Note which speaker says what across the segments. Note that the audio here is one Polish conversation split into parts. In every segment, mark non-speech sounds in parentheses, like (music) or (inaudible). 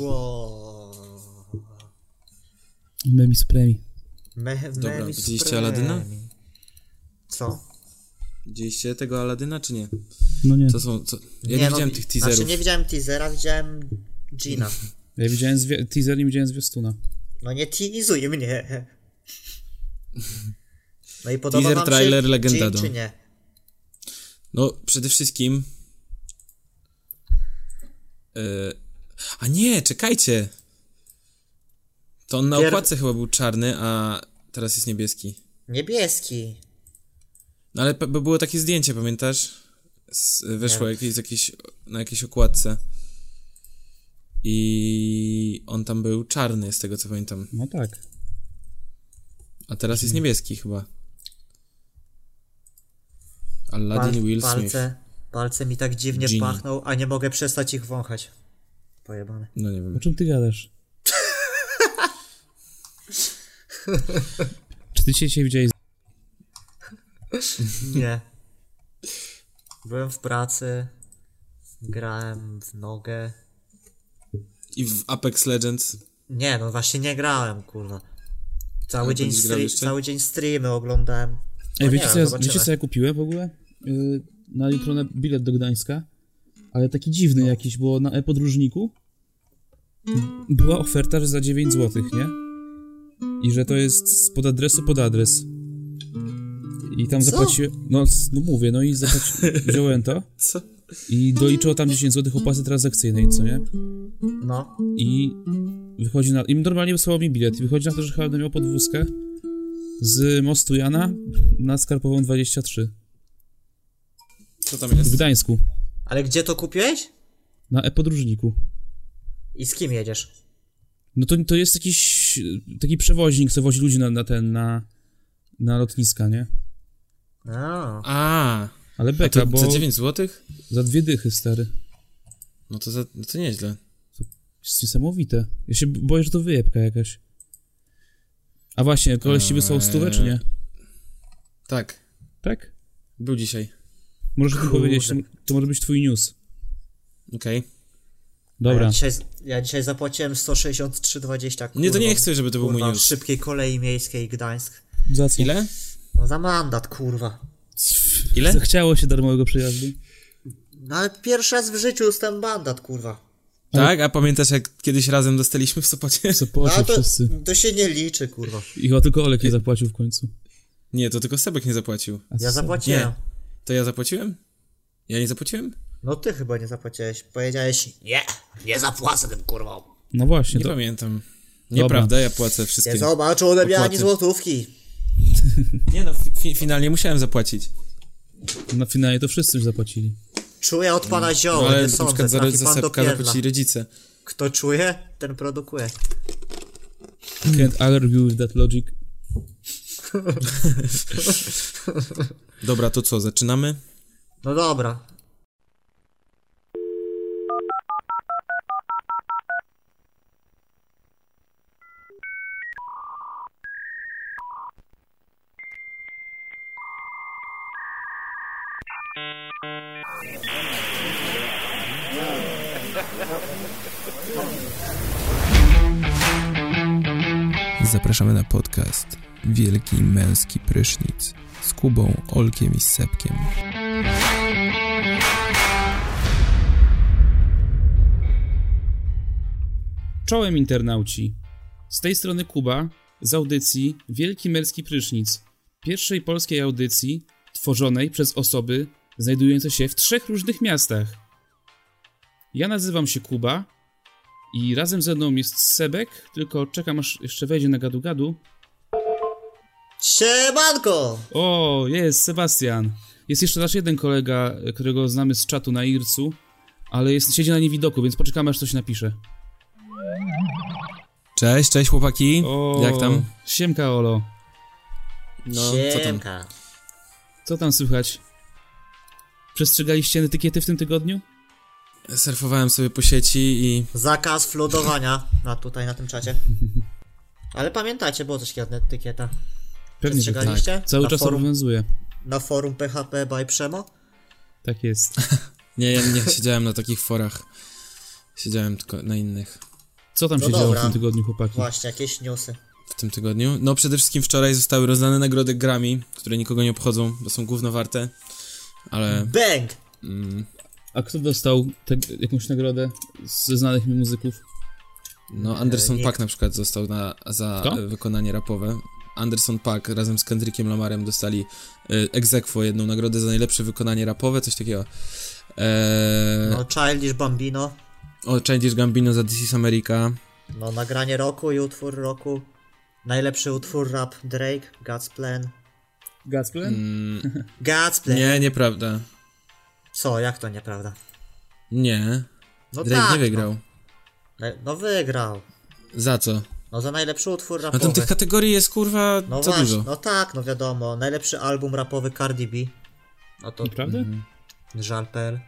Speaker 1: Poszło.
Speaker 2: Memis Premi.
Speaker 1: Me,
Speaker 3: Dobra,
Speaker 1: Memis
Speaker 3: widzieliście
Speaker 1: Premi.
Speaker 3: Aladyna?
Speaker 1: Co?
Speaker 3: Widzieliście tego Aladyna, czy nie?
Speaker 2: No nie.
Speaker 3: Co są, co... Ja nie, widziałem
Speaker 1: no,
Speaker 3: tych teaserów.
Speaker 1: Znaczy nie widziałem teasera, widziałem Gina.
Speaker 2: Ja widziałem zwie- teaser, nie widziałem zwiastuna.
Speaker 1: No nie teasuj mnie. No i podoba
Speaker 3: Teaser,
Speaker 1: wam się
Speaker 3: trailer,
Speaker 1: Gin,
Speaker 3: legenda, no.
Speaker 1: czy nie?
Speaker 3: No, przede wszystkim... E, A nie, czekajcie! To on na
Speaker 1: Pier-
Speaker 3: okładce chyba był czarny, a teraz jest niebieski.
Speaker 1: Niebieski.
Speaker 3: No ale pe- bo było takie zdjęcie, pamiętasz? Z, wyszło jakieś, z jakiejś, na jakiejś okładce. I on tam był czarny, z tego co pamiętam.
Speaker 2: No tak.
Speaker 3: A teraz
Speaker 1: Mhm.
Speaker 3: jest niebieski chyba. Aladdin
Speaker 1: Pal-
Speaker 3: Will Smith.
Speaker 1: palce, palce mi tak dziwnie
Speaker 3: Genie.
Speaker 1: pachną, a nie mogę przestać ich wąchać. Pojebane.
Speaker 3: No nie wiem.
Speaker 2: O czym ty
Speaker 1: (laughs)
Speaker 2: gadasz? Czy ty się dzisiaj widziałeś?
Speaker 3: (laughs)
Speaker 1: Nie. Byłem w pracy, grałem w nogę.
Speaker 3: I w Apex Legends.
Speaker 1: Nie, no właśnie nie grałem, kurwa. Cały,
Speaker 3: Ale
Speaker 1: dzień,
Speaker 3: będziesz grał
Speaker 1: stre-
Speaker 3: jeszcze?
Speaker 1: cały dzień streamy oglądałem. No
Speaker 2: Ej,
Speaker 1: nie
Speaker 2: wiecie,
Speaker 1: wiem,
Speaker 2: co ja,
Speaker 1: zobaczymy.
Speaker 2: wiecie co ja kupiłem w ogóle? Yy, na jutro na bilet do Gdańska. Ale taki
Speaker 1: No.
Speaker 2: dziwny jakiś, bo na e-podróżniku była oferta, że za 9 zł, nie? I że to jest z pod adresu pod adres. I tam
Speaker 1: Co?
Speaker 2: zapłaciłem. No, s- no mówię, no
Speaker 1: (laughs)
Speaker 2: i zapłaci... wziąłem to.
Speaker 3: Co?
Speaker 2: I doliczyło tam 10 zł opłaty transakcyjnej, co nie?
Speaker 1: No,
Speaker 2: I wychodzi na. I normalnie wysłał mi bilet. I wychodzi na to, że chyba będę miał podwózkę z mostu Jana na skarbową 23
Speaker 3: Co tam jest?
Speaker 2: w Gdańsku.
Speaker 1: ale gdzie to kupiłeś?
Speaker 2: Na e-podróżniku.
Speaker 1: I z kim jedziesz?
Speaker 2: No to, to jest jakiś e, taki przewoźnik, co wozi ludzi na, na ten, na, na lotniska, nie?
Speaker 1: A,
Speaker 3: A,
Speaker 2: Ale
Speaker 1: Tak,
Speaker 3: a
Speaker 2: beka,
Speaker 3: to
Speaker 2: bo
Speaker 3: za 9 zł?
Speaker 2: za dwie dychy, stary.
Speaker 3: No to, za, no to nieźle.
Speaker 2: Jest niesamowite. Ja się boję, że to wyjebka jakaś. A właśnie, koleś ci wysłał stówę, czy nie?
Speaker 3: Eee. Tak,
Speaker 2: Tak?
Speaker 3: był dzisiaj.
Speaker 2: Możesz o tym
Speaker 1: Kurde.
Speaker 2: powiedzieć, to, to może być twój news.
Speaker 1: A
Speaker 3: Okej.
Speaker 1: Ja
Speaker 2: Dobra.
Speaker 1: dzisiaj, ja dzisiaj zapłaciłem 163,20.
Speaker 3: Nie, to nie
Speaker 1: kurwa.
Speaker 3: chcę, żeby to był mój
Speaker 1: Kurwa, w
Speaker 3: news.
Speaker 1: szybkiej kolei miejskiej Gdańsk.
Speaker 2: Za co?
Speaker 3: Ile?
Speaker 1: No za mandat, kurwa.
Speaker 3: Ile?
Speaker 2: Zachciało się darmowego przejazdu.
Speaker 1: No ale pierwszy raz w życiu jestem mandat, kurwa.
Speaker 3: Tak, a pamiętasz jak kiedyś razem dostaliśmy w Sopocie?
Speaker 2: Co
Speaker 1: No, ale
Speaker 2: poszło
Speaker 1: to,
Speaker 2: wszyscy.
Speaker 1: to się nie liczy, kurwa.
Speaker 2: I chyba tylko Olek nie zapłacił w końcu.
Speaker 3: Nie, to tylko Sebek nie zapłacił.
Speaker 2: A
Speaker 1: Ja
Speaker 2: co?
Speaker 1: zapłaciłem.
Speaker 3: Nie. To ja zapłaciłem? Ja nie zapłaciłem?
Speaker 1: No ty chyba nie zapłaciłeś. Powiedziałeś, nie, nie zapłacę tym kurwą.
Speaker 2: No właśnie,
Speaker 3: Nie
Speaker 2: to
Speaker 3: pamiętam. Nieprawda, ja płacę wszystkie.
Speaker 1: Nie zobaczył ode mnie ani
Speaker 3: Opłaty.
Speaker 1: złotówki.
Speaker 3: Nie no, fi- finalnie musiałem zapłacić.
Speaker 2: na finale to wszyscy już zapłacili.
Speaker 1: Czuję od pana
Speaker 3: No,
Speaker 1: zioło,
Speaker 3: ale
Speaker 1: nie
Speaker 3: na
Speaker 1: sądzę,
Speaker 3: przykład za,
Speaker 1: trafi
Speaker 3: za
Speaker 1: pan do
Speaker 3: sepka
Speaker 1: pierdla.
Speaker 3: zapłacili rodzice.
Speaker 1: Kto czuje, ten produkuje.
Speaker 2: Can't argue with that logic.
Speaker 3: Dobra, to co, zaczynamy?
Speaker 1: No dobra.
Speaker 3: Zapraszamy na podcast Wielki Męski Prysznic z Kubą, Olkiem i Sepkiem.
Speaker 2: Czołem internauci. Z tej strony Kuba z audycji Wielki Merski Prysznic. Pierwszej polskiej audycji tworzonej przez osoby znajdujące się w trzech różnych miastach. Ja nazywam się Kuba i razem ze mną jest Sebek, tylko czekam aż jeszcze wejdzie na gadu-gadu.
Speaker 1: Siemanko!
Speaker 2: O, jest Sebastian. Jest jeszcze nasz jeden kolega, którego znamy z czatu na Ircu, ale jest, siedzi na niewidoku, więc poczekamy aż coś napisze.
Speaker 3: Cześć, cześć chłopaki.
Speaker 2: O,
Speaker 3: Jak tam?
Speaker 2: Siemka Olo.
Speaker 3: No, co tam?
Speaker 1: Siemka.
Speaker 2: Co tam słychać? Przestrzegaliście etykiety w tym tygodniu?
Speaker 3: Surfowałem sobie po sieci i...
Speaker 1: Zakaz flodowania na tutaj, na tym czacie. (laughs) Ale pamiętajcie, było coś takiego etykieta.
Speaker 2: Pewnie, że tak.
Speaker 1: Przestrzegaliście?
Speaker 2: Cały
Speaker 1: na
Speaker 2: czas
Speaker 1: forum,
Speaker 2: obowiązuje.
Speaker 1: Na forum PHP by Przemo?
Speaker 2: Tak jest.
Speaker 3: Nie, ja nie siedziałem na takich forach. Siedziałem tylko na innych
Speaker 2: Co tam
Speaker 1: No
Speaker 2: się działo w
Speaker 1: dobra.
Speaker 2: tym tygodniu, chłopaki?
Speaker 1: Właśnie, jakieś newsy.
Speaker 3: w tym tygodniu. No przede wszystkim wczoraj zostały rozdane nagrody Grammy, które nikogo nie obchodzą, bo są gówno warte. Ale
Speaker 1: Bang!
Speaker 3: mm,
Speaker 2: A kto dostał te, jakąś nagrodę ze znanych mi muzyków?
Speaker 3: no Anderson
Speaker 1: E, nie.
Speaker 3: Paak na przykład został na, za
Speaker 2: Kto?
Speaker 3: e, wykonanie rapowe. Anderson Paak razem z Kendrickiem Lamarem dostali e, ex aequo jedną nagrodę za najlepsze wykonanie rapowe, coś takiego. Eee,
Speaker 1: No, Childish Bambino.
Speaker 3: O Childish Gambino za This is America.
Speaker 1: No, nagranie roku i utwór roku. Najlepszy utwór rap Drake, God's Plan.
Speaker 2: Gasplan?
Speaker 3: Mm,
Speaker 1: God's Plan.
Speaker 3: nie, nieprawda.
Speaker 1: Co, jak to nieprawda?
Speaker 3: Nie.
Speaker 1: No
Speaker 3: Drake
Speaker 1: tak,
Speaker 3: nie wygrał.
Speaker 1: No. Na- no wygrał.
Speaker 3: Za co?
Speaker 1: No za najlepszy utwór
Speaker 3: A
Speaker 1: rapowy.
Speaker 3: tam tych kategorii jest kurwa
Speaker 1: no
Speaker 3: co
Speaker 1: właśnie,
Speaker 3: dużo.
Speaker 1: no tak, no wiadomo. Najlepszy album rapowy Cardi B. No to
Speaker 2: Naprawdę?
Speaker 1: żal.pl.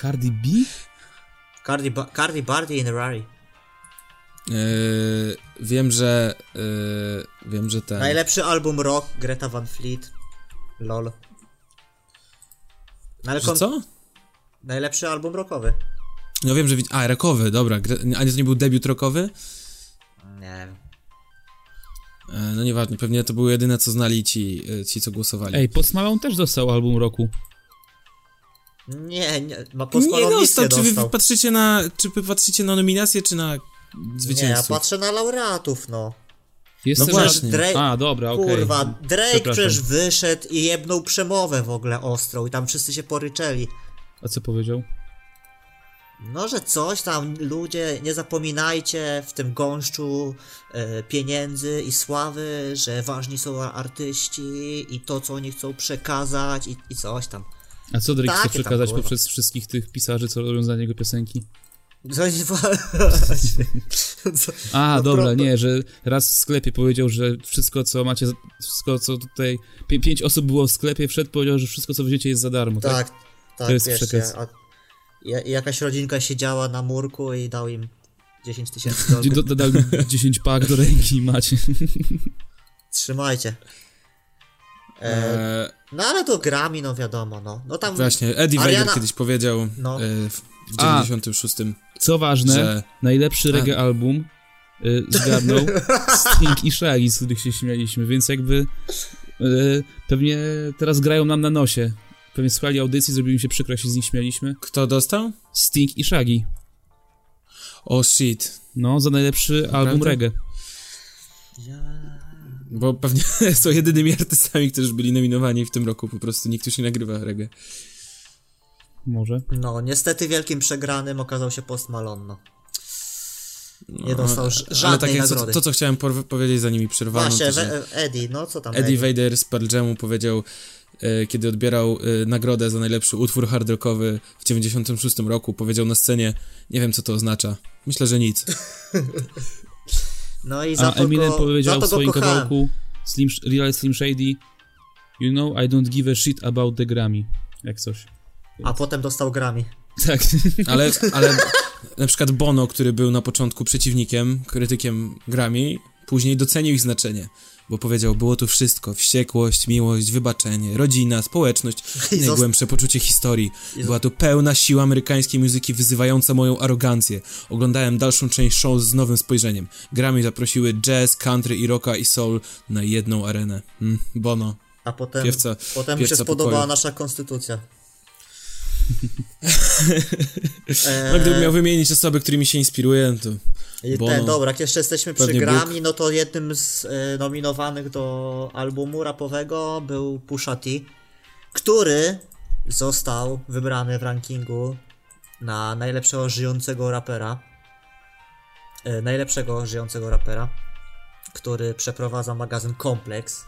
Speaker 2: Cardi B?
Speaker 1: Cardi, ba- Cardi Bardi in Rari.
Speaker 3: Tak. Yy, wiem, że. Yy, wiem, że ten.
Speaker 1: Najlepszy album rock Greta Van Fleet. Lol. No, ale
Speaker 3: Że
Speaker 1: kon-
Speaker 3: co?
Speaker 1: Najlepszy album rockowy.
Speaker 3: No wiem, że. Widz... A, rokowy, dobra. gre- A nie, to nie był debiut rokowy?
Speaker 1: Nie wiem.
Speaker 3: E, no nieważne, pewnie to były jedyne, co znali ci, e, ci co głosowali.
Speaker 2: Ej, Post Malone też dostał album roku.
Speaker 1: Nie, nie, no ma
Speaker 3: nie
Speaker 1: posłanowicję dostał.
Speaker 3: Czy wy patrzycie na. Czy wy patrzycie na nominację, czy na
Speaker 1: nie, ja
Speaker 3: zwycięzców?
Speaker 1: patrzę na laureatów, no.
Speaker 2: Jestem
Speaker 3: No właśnie.
Speaker 2: Na...
Speaker 1: Drake,
Speaker 2: A, dobra, okej.
Speaker 1: kurwa, Drake
Speaker 2: Przepraszam.
Speaker 1: przecież wyszedł i jebnął przemowę w ogóle ostrą i tam wszyscy się poryczeli.
Speaker 2: A co powiedział?
Speaker 1: No, że coś tam, ludzie, nie zapominajcie w tym gąszczu e, pieniędzy i sławy, że ważni są artyści i to, co oni chcą przekazać i, i coś tam.
Speaker 2: A co Drake chce
Speaker 1: Takie tam,
Speaker 2: przekazać
Speaker 1: kurwa.
Speaker 2: poprzez wszystkich tych pisarzy, co robią za niego piosenki?
Speaker 1: Coś właśnie. Co-
Speaker 2: A,
Speaker 1: No
Speaker 2: dobra,
Speaker 1: pro-
Speaker 2: nie, że raz w sklepie powiedział, że wszystko, co macie, za- wszystko, co tutaj... Pię- pięć osób było w sklepie, wszedł, powiedział, że wszystko, co wzięcie jest za darmo, tak?
Speaker 1: (laughs) Tak, tak,
Speaker 2: To jest
Speaker 1: wiesz,
Speaker 2: przekaz.
Speaker 1: ja- a, ja, jakaś rodzinka siedziała na murku i dał im 10 tysięcy
Speaker 2: (laughs) Gdzie
Speaker 1: dolarów.
Speaker 2: do- Dodał 10 pak do ręki i macie. (laughs)
Speaker 1: Trzymajcie. E,
Speaker 3: E,
Speaker 1: no ale to grami, no wiadomo, no. No tam
Speaker 3: Właśnie, Eddie
Speaker 1: Ariana-
Speaker 3: Vader kiedyś powiedział
Speaker 1: No.
Speaker 3: e, w w
Speaker 2: A.
Speaker 3: 96,
Speaker 2: Co ważne,
Speaker 3: że
Speaker 2: najlepszy
Speaker 3: A.
Speaker 2: reggae album y, zgarnął Sting i Shaggy, z których się śmialiśmy, więc jakby y, pewnie teraz grają nam na nosie. Pewnie słuchali audycji, zrobiło im się przykro, jak się z nich śmialiśmy.
Speaker 3: kto dostał?
Speaker 2: Sting i Shaggy.
Speaker 3: O shit.
Speaker 2: No, za najlepszy album reggae.
Speaker 3: Bo pewnie (laughs) są jedynymi artystami, którzy byli nominowani w tym roku, po prostu nikt już nie nagrywa reggae.
Speaker 2: Może.
Speaker 1: No, niestety wielkim przegranym okazał się Post Malone, no.
Speaker 3: No,
Speaker 1: Nie dostał ż-
Speaker 3: ale
Speaker 1: żadnej
Speaker 3: tak jak co-
Speaker 1: nagrody.
Speaker 3: To, co chciałem por- powiedzieć, zanim mi przerwano,
Speaker 1: Właśnie,
Speaker 3: to, że
Speaker 1: we, Eddie, no co tam
Speaker 3: Eddie
Speaker 1: Eddie?
Speaker 3: Vader z Pearl Jamu powiedział, e, kiedy odbierał e, nagrodę za najlepszy utwór hard rockowy w 96 roku, powiedział na scenie, nie wiem, co to oznacza. Myślę, że nic.
Speaker 1: No i za
Speaker 2: A
Speaker 1: to
Speaker 2: Eminem
Speaker 1: go,
Speaker 2: powiedział
Speaker 1: za
Speaker 2: w
Speaker 1: to
Speaker 2: swoim
Speaker 1: go kochałem.
Speaker 2: kawałku Slim, Real Slim Shady You know I don't give a shit about the Grammy. Jak coś. (laughs)
Speaker 1: A potem dostał grami.
Speaker 2: Tak.
Speaker 3: Ale, ale na przykład Bono, który był na początku przeciwnikiem, krytykiem Grammy, później docenił ich znaczenie, bo powiedział, było tu wszystko, wściekłość, miłość, wybaczenie, rodzina, społeczność,
Speaker 1: I zost-
Speaker 3: najgłębsze poczucie historii. Była tu pełna siła amerykańskiej muzyki wyzywająca moją arogancję. Oglądałem dalszą część show z nowym spojrzeniem. Grammy zaprosiły jazz, country i rocka i soul na jedną arenę. Mm, Bono,
Speaker 1: A potem,
Speaker 3: piewca,
Speaker 1: potem mu się
Speaker 3: piewca
Speaker 1: spodobała
Speaker 3: pokoju.
Speaker 1: nasza konstytucja.
Speaker 3: No, gdybym miał wymienić osoby, którymi się inspiruję, to...
Speaker 1: I
Speaker 3: Bono.
Speaker 1: ten, dobra, jak jeszcze jesteśmy przy
Speaker 3: Pewnie
Speaker 1: grami, no to jednym z e, nominowanych do albumu rapowego był Pusha T, który został wybrany w rankingu na najlepszego żyjącego rapera. E, najlepszego żyjącego rapera, który przeprowadza magazyn Kompleks.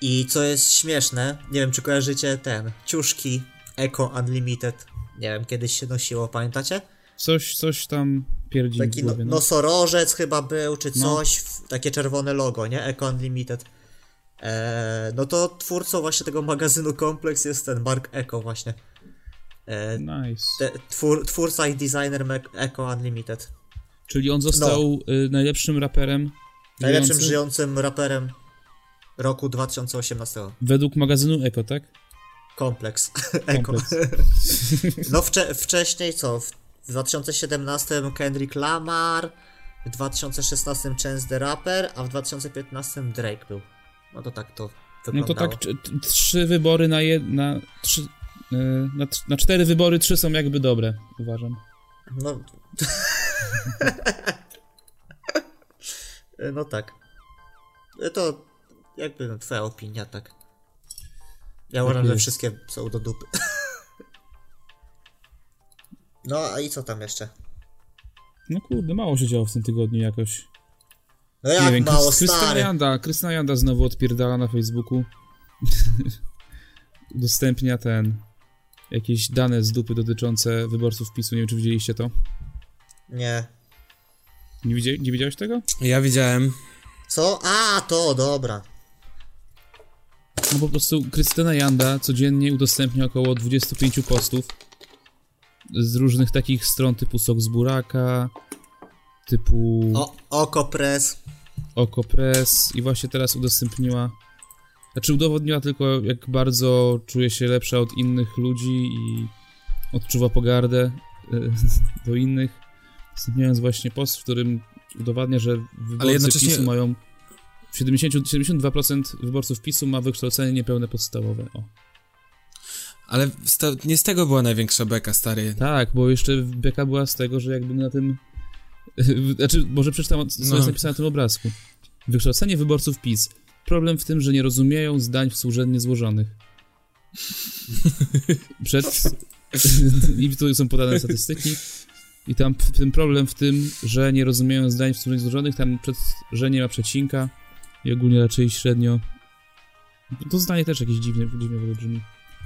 Speaker 1: I co jest śmieszne, nie wiem czy kojarzycie ten, ciuszki Eco Unlimited, nie wiem, kiedyś się nosiło, pamiętacie?
Speaker 2: Coś, coś tam pierdzi
Speaker 1: Taki
Speaker 2: w
Speaker 1: no,
Speaker 2: głowie. no.
Speaker 1: nosorożec chyba był, czy
Speaker 2: No.
Speaker 1: coś, w- takie czerwone logo, nie? Eco Unlimited. Eee, no to twórcą właśnie tego magazynu Kompleks jest ten Mark Eco właśnie. Eee,
Speaker 2: Nice.
Speaker 1: te, twór, twórca i designer Mac- Eco Unlimited.
Speaker 2: Czyli on został y, najlepszym raperem.
Speaker 1: no. Najlepszym
Speaker 2: żyjącym
Speaker 1: żyjącym raperem roku 2018.
Speaker 2: Według magazynu Eko, tak?
Speaker 1: Kompleks. (laughs) Eko.
Speaker 2: Kompleks.
Speaker 1: No wcze- wcześniej co? W 2017 Kendrick Lamar, w 2016 Chance the Rapper, a w 2015 Drake był. No to tak to
Speaker 2: No to
Speaker 1: wyglądało.
Speaker 2: tak, tr- tr- trzy wybory na jed... na, trzy, y, na, tr- na cztery wybory trzy są jakby dobre, uważam.
Speaker 1: No, (laughs) no tak. To jakby twoja opinia, tak. Ja uważam, że
Speaker 2: jest.
Speaker 1: wszystkie są do dupy. (laughs) No a i co tam jeszcze?
Speaker 2: No kurde, mało się działo w tym tygodniu jakoś.
Speaker 1: No jak
Speaker 2: wiem,
Speaker 1: mało
Speaker 2: Krys- Krystyna
Speaker 1: stary.
Speaker 2: Janda, Krystyna Janda znowu odpierdala na Facebooku. (laughs) Udostępnia ten... Jakieś dane z dupy dotyczące wyborców PiSu, nie wiem czy widzieliście to.
Speaker 1: Nie.
Speaker 2: Nie, widzieli, nie widziałeś tego?
Speaker 3: Ja widziałem.
Speaker 1: Co? A, to, dobra.
Speaker 2: No po prostu Krystyna Janda codziennie udostępnia około 25 postów z różnych takich stron typu Sok z Buraka, typu
Speaker 1: O, okopres.
Speaker 2: OkoPress i właśnie teraz udostępniła, znaczy udowodniła tylko jak bardzo czuje się lepsza od innych ludzi i odczuwa pogardę y, (laughs) do innych, udostępniając właśnie post, w którym udowadnia, że wyborcy
Speaker 3: jednocześnie-
Speaker 2: PiSu mają 70, 72% wyborców PiSu ma wykształcenie niepełne podstawowe. O.
Speaker 3: Ale sta- nie z tego była największa beka, stary.
Speaker 2: Tak, bo jeszcze beka była z tego, że jakby na tym. (laughs) Znaczy, może przeczytam, co
Speaker 3: No.
Speaker 2: jest napisane na tym obrazku. Wykształcenie wyborców PiS. Problem w tym, że nie rozumieją zdań służebnie złożonych. Przed. (laughs) I tu są podane statystyki. I tam p- ten problem w tym, że nie rozumieją zdań wspólnie złożonych, tam przed, że nie ma przecinka i ogólnie raczej średnio. To zdanie też jakieś dziwne, dziwnie w ogóle brzmi.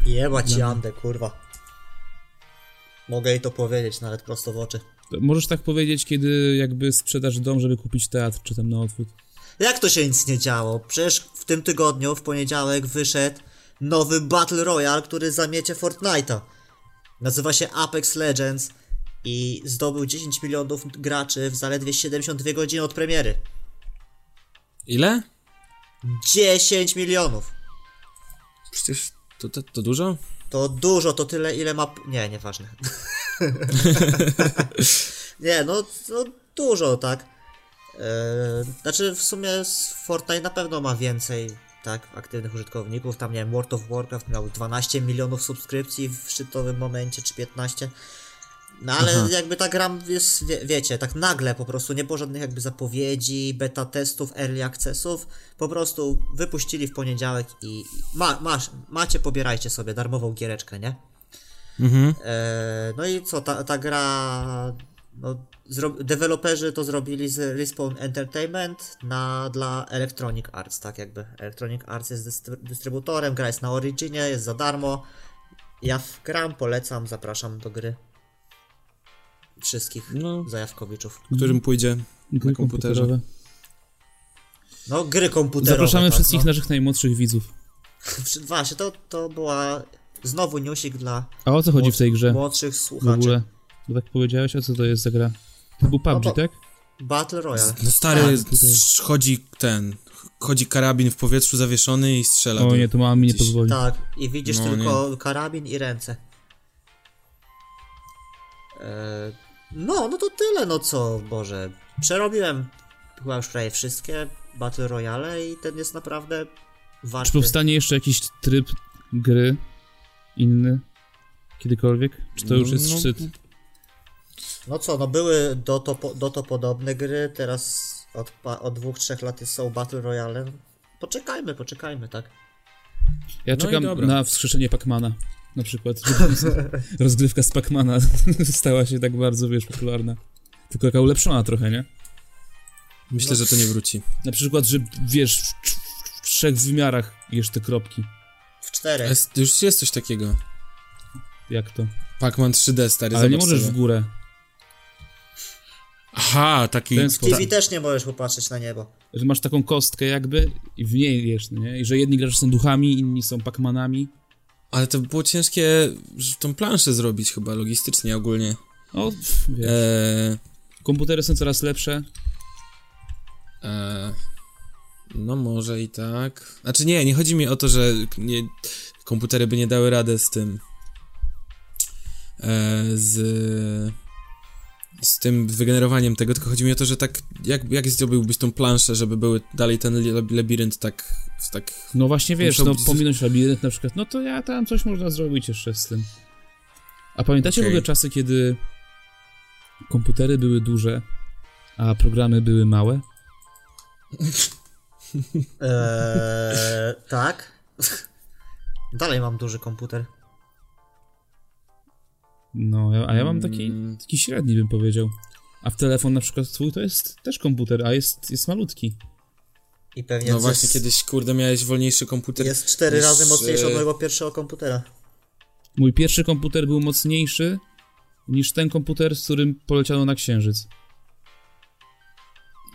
Speaker 1: Jeba ci Andę, kurwa. Mogę jej to powiedzieć nawet prosto w oczy.
Speaker 2: To Możesz tak powiedzieć, kiedy jakby sprzedasz dom, żeby kupić teatr, czy tam na odwrót.
Speaker 1: Jak to się nic nie działo? Przecież w tym tygodniu, w poniedziałek, wyszedł nowy Battle Royale, który zamiecie Fortnite'a. Nazywa się Apex Legends i zdobył 10 milionów graczy w zaledwie 72 godziny od premiery.
Speaker 3: Ile?
Speaker 1: 10 milionów!
Speaker 3: Przecież to, to, to dużo?
Speaker 1: To dużo, to tyle, ile ma. Nie, nieważne. nie, no, no dużo, tak. Yy, znaczy, w sumie z Fortnite na pewno ma więcej tak aktywnych użytkowników. Tam, nie wiem, World of Warcraft miał 12 milionów subskrypcji w szczytowym momencie, czy 15. No ale
Speaker 3: Aha.
Speaker 1: jakby ta gra jest, wie, wiecie, tak nagle po prostu, nie było żadnych jakby zapowiedzi, beta testów, early accessów, po prostu wypuścili w poniedziałek i ma, masz, macie, pobierajcie sobie darmową giereczkę, nie?
Speaker 3: Mhm.
Speaker 1: E, no i co, ta, ta gra, no, zro, deweloperzy to zrobili z Respawn Entertainment na, dla Electronic Arts, tak jakby. Electronic Arts jest dystry, dystrybutorem, gra jest na Originie, jest za darmo. Ja w- gram, polecam, zapraszam do gry wszystkich
Speaker 3: No.
Speaker 1: zajawkowiczów.
Speaker 3: Którym pójdzie na
Speaker 2: Gry
Speaker 3: komputerze.
Speaker 2: komputerowe.
Speaker 1: No, gry komputerowe.
Speaker 2: Zapraszamy
Speaker 1: tak,
Speaker 2: wszystkich
Speaker 1: no.
Speaker 2: naszych najmłodszych widzów.
Speaker 1: Właśnie, to, to była znowu newsik dla
Speaker 2: A o co chodzi w tej grze
Speaker 1: młodszych
Speaker 2: w
Speaker 1: słuchaczy.
Speaker 2: ogóle? Bo tak powiedziałeś, a co to jest za gra? To był PUBG,
Speaker 1: No to-
Speaker 2: tak?
Speaker 1: Battle Royale.
Speaker 3: No stary,
Speaker 2: Tak, tutaj.
Speaker 3: sz- chodzi ten, chodzi karabin w powietrzu zawieszony i strzela.
Speaker 2: O No, nie, to mama mi nie
Speaker 3: Gdzieś-
Speaker 2: pozwoli.
Speaker 1: Tak, i widzisz
Speaker 3: No,
Speaker 1: tylko karabin i ręce. E, no, no to tyle, no co, Boże. Przerobiłem chyba już prawie wszystkie Battle Royale i ten jest naprawdę
Speaker 2: Czy
Speaker 1: warty.
Speaker 2: powstanie jeszcze jakiś tryb gry inny? Kiedykolwiek? Czy to już jest
Speaker 3: No,
Speaker 2: szczyt?
Speaker 1: No co, no były do to, po- do to podobne gry, teraz od, pa- od dwóch, trzech lat są Battle Royale. Poczekajmy, poczekajmy, tak?
Speaker 2: Ja
Speaker 3: No i
Speaker 2: czekam
Speaker 3: dobra.
Speaker 2: na wskrzeszenie Pacmana. Na przykład, żeby
Speaker 3: (laughs)
Speaker 2: rozgrywka z Pacmana (laughs) stała się tak bardzo, wiesz, popularna. Tylko taka ulepszona trochę, nie?
Speaker 3: Myślę, że to nie wróci.
Speaker 2: Na przykład, że wiesz, w, w, w trzech wymiarach jesz te kropki.
Speaker 1: W czterech.
Speaker 3: Jest, już jest coś takiego.
Speaker 2: Jak to?
Speaker 3: Pac-Man 3D, stary,
Speaker 2: Ale nie
Speaker 3: zobacz
Speaker 2: możesz
Speaker 3: sobie.
Speaker 2: w górę.
Speaker 3: Aha, taki...
Speaker 2: Ten sposób.
Speaker 1: TV też nie możesz popatrzeć na niebo.
Speaker 2: Że masz taką kostkę jakby i w niej jesz, no nie? I że jedni gracze są duchami, inni są Pacmanami.
Speaker 3: Ale to było ciężkie, e, że tą planszę zrobić chyba logistycznie ogólnie.
Speaker 2: O, No, pff, wiesz.
Speaker 3: Eee,
Speaker 2: Komputery są coraz lepsze.
Speaker 3: E, eee, no może i tak. Znaczy nie, nie chodzi mi o to, że nie, Komputery by nie dały rady z tym. E, z, z tym wygenerowaniem tego, tylko chodzi mi o to, że tak, jak, jak zrobiłbyś tą planszę, żeby były dalej ten li- labirynt tak, w tak
Speaker 2: No właśnie wiesz,
Speaker 3: Muszą
Speaker 2: no
Speaker 3: być-
Speaker 2: pominąć labirynt na przykład, no to ja tam coś można zrobić jeszcze z tym. A pamiętacie w
Speaker 3: Okej.
Speaker 2: ogóle czasy, kiedy komputery były duże, a programy były małe?
Speaker 1: Eee, tak. (laughs) Dalej mam duży komputer.
Speaker 2: No, ja- a ja mam taki,
Speaker 3: Mm.
Speaker 2: taki średni bym powiedział. A w telefon na przykład twój to jest też komputer, a jest, jest malutki.
Speaker 1: I pewnie
Speaker 3: No
Speaker 1: z-
Speaker 3: właśnie, kiedyś, kurde, miałeś wolniejszy komputer.
Speaker 1: jest cztery
Speaker 3: niż,
Speaker 1: razy mocniejszy od
Speaker 3: e,
Speaker 1: mojego pierwszego komputera.
Speaker 2: Mój pierwszy komputer był mocniejszy niż ten komputer, z którym poleciano na księżyc.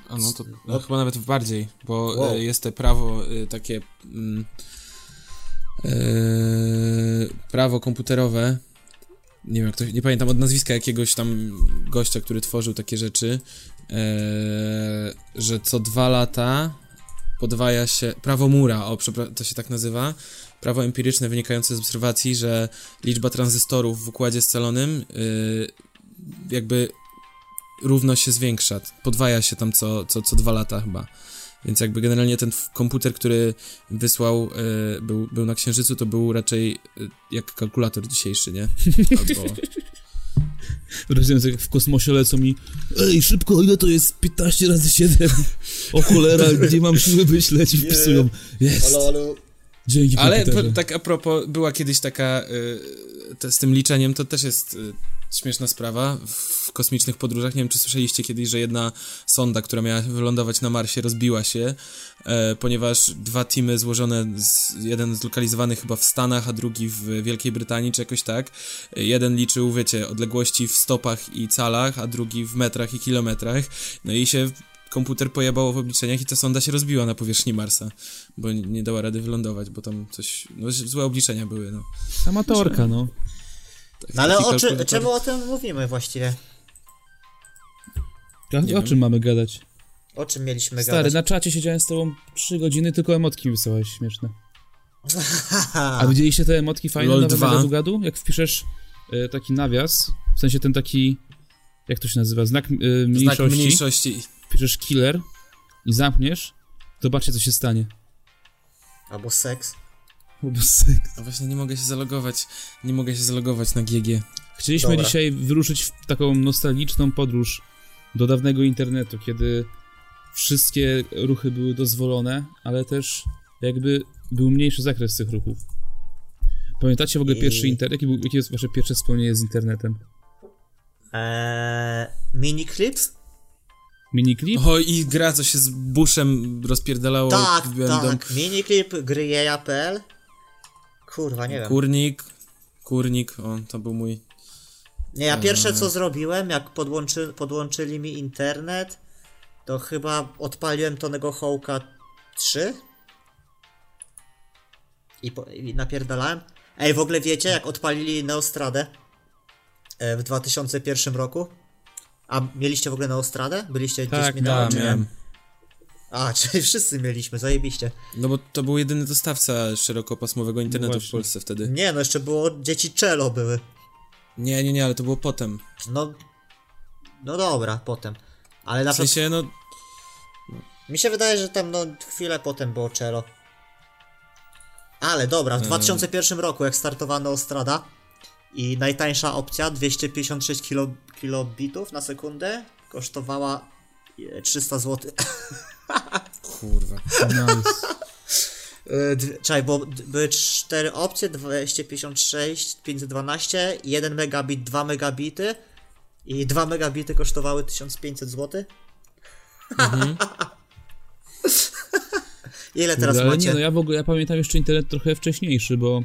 Speaker 3: A no to no, chyba nawet bardziej, bo
Speaker 1: Wow.
Speaker 3: e, jest te prawo e, takie. Mm, e, prawo komputerowe. Nie wiem, jak to, nie pamiętam od nazwiska jakiegoś tam gościa, który tworzył takie rzeczy, e, że co dwa lata podwaja się. Prawo Mura, o, przepra- to się tak nazywa. Prawo empiryczne wynikające z obserwacji, że liczba tranzystorów w układzie scalonym y, jakby równo się zwiększa, podwaja się tam co, co, co dwa lata chyba. Więc jakby generalnie ten f- komputer, który wysłał, y, był, był na Księżycu, to był raczej y, jak kalkulator dzisiejszy, nie? Albo...
Speaker 2: Rozumiem, jak w kosmosie lecą mi Ej, szybko, ile to jest? 15 razy 7 O cholera, gdzie mam siły wyśleć? I wpisują Jest, dzięki
Speaker 3: Ale
Speaker 2: komputerze.
Speaker 3: po, tak a propos, była kiedyś taka, y, te, z tym liczeniem to też jest y, śmieszna sprawa w kosmicznych podróżach. Nie wiem, czy słyszeliście kiedyś, że jedna sonda, która miała wylądować na Marsie, rozbiła się, e, ponieważ dwa teamy złożone, z, jeden zlokalizowany chyba w Stanach, a drugi w Wielkiej Brytanii, czy jakoś tak, y, jeden liczył, wiecie, odległości w stopach i calach, a drugi w metrach i kilometrach, no i się... Komputer pojebało w obliczeniach i ta sonda się rozbiła na powierzchni Marsa bo nie- nie dała rady wylądować, bo tam coś, no z- złe obliczenia były, no.
Speaker 2: Amatorka, no
Speaker 3: Tak-
Speaker 1: No ale
Speaker 3: taki
Speaker 1: o czy,
Speaker 3: kalkulator.
Speaker 1: czemu o tym mówimy właściwie?
Speaker 2: O
Speaker 3: wiem.
Speaker 2: czym mamy gadać?
Speaker 1: O czym mieliśmy
Speaker 2: Stary,
Speaker 1: gadać?
Speaker 2: na czacie siedziałem z tobą 3 godziny, tylko emotki wysyłałeś śmieszne A widzieliście te emotki fajne
Speaker 3: LOL
Speaker 2: nawet na
Speaker 3: 2?
Speaker 2: gadu gadu? Jak wpiszesz e, taki nawias, w sensie ten taki, jak to się nazywa, znak, e, mniejszości,
Speaker 3: Znak mniejszości.
Speaker 2: wpiszesz killer i zamkniesz, zobaczcie co się stanie
Speaker 1: Albo seks.
Speaker 3: A No właśnie nie mogę się zalogować, nie mogę się zalogować na GG.
Speaker 2: Chcieliśmy
Speaker 1: Dobra.
Speaker 2: dzisiaj wyruszyć w taką nostalgiczną podróż do dawnego internetu, kiedy wszystkie ruchy były dozwolone, ale też jakby był mniejszy zakres tych ruchów. Pamiętacie w ogóle
Speaker 1: I-
Speaker 2: pierwszy internet? Jakie, był- jakie jest wasze pierwsze wspomnienie z internetem?
Speaker 1: Eee, miniclips?
Speaker 2: Miniklip?
Speaker 3: O i gra, co się z Bushem rozpierdalało.
Speaker 1: Tak,
Speaker 3: wbiłem dom.
Speaker 1: tak. Miniclip gry jeja.pl. Kurwa, nie wiem.
Speaker 3: Kurnik, kurnik, o, to był mój.
Speaker 1: Nie, ja pierwsze
Speaker 3: Mm.
Speaker 1: co zrobiłem, jak podłączy, podłączyli mi internet, to chyba odpaliłem Tonego Hołka 3 i, po, i napierdalałem. Ej, w ogóle wiecie, jak odpalili Neostradę e, w 2001 roku? A mieliście w ogóle Neostradę? Byliście
Speaker 2: Tak,
Speaker 1: gdzieś mi
Speaker 2: miałem,
Speaker 1: na
Speaker 3: A,
Speaker 1: oczy?
Speaker 3: miałem.
Speaker 1: A, (laughs) czyli wszyscy mieliśmy, zajebiście.
Speaker 3: No bo to był jedyny dostawca szerokopasmowego internetu w
Speaker 2: właśnie.
Speaker 3: Polsce wtedy.
Speaker 1: Nie, no jeszcze było, dzieci czelo były.
Speaker 3: Nie, nie, nie, ale to było potem.
Speaker 1: No, no dobra, potem. Ale na
Speaker 3: W
Speaker 1: przykład
Speaker 3: sensie, no,
Speaker 1: Mi się wydaje, że tam no chwilę potem było Czelo. Ale dobra, w 2001 roku jak startowano Ostrada i najtańsza opcja 256 kilo, kilobitów na sekundę kosztowała e, 300 zł.
Speaker 3: kurwa.
Speaker 2: Nice.
Speaker 1: E, dwie- (coughs) Czekaj, bo d- były cztery opcje, 256, 512, 1 megabit, 2 megabity i 2 megabity kosztowały 1500 zł. Mhm. (laughs) Ile teraz
Speaker 2: Ale
Speaker 1: macie?
Speaker 2: nie, no ja w ogóle, ja pamiętam jeszcze internet trochę wcześniejszy, bo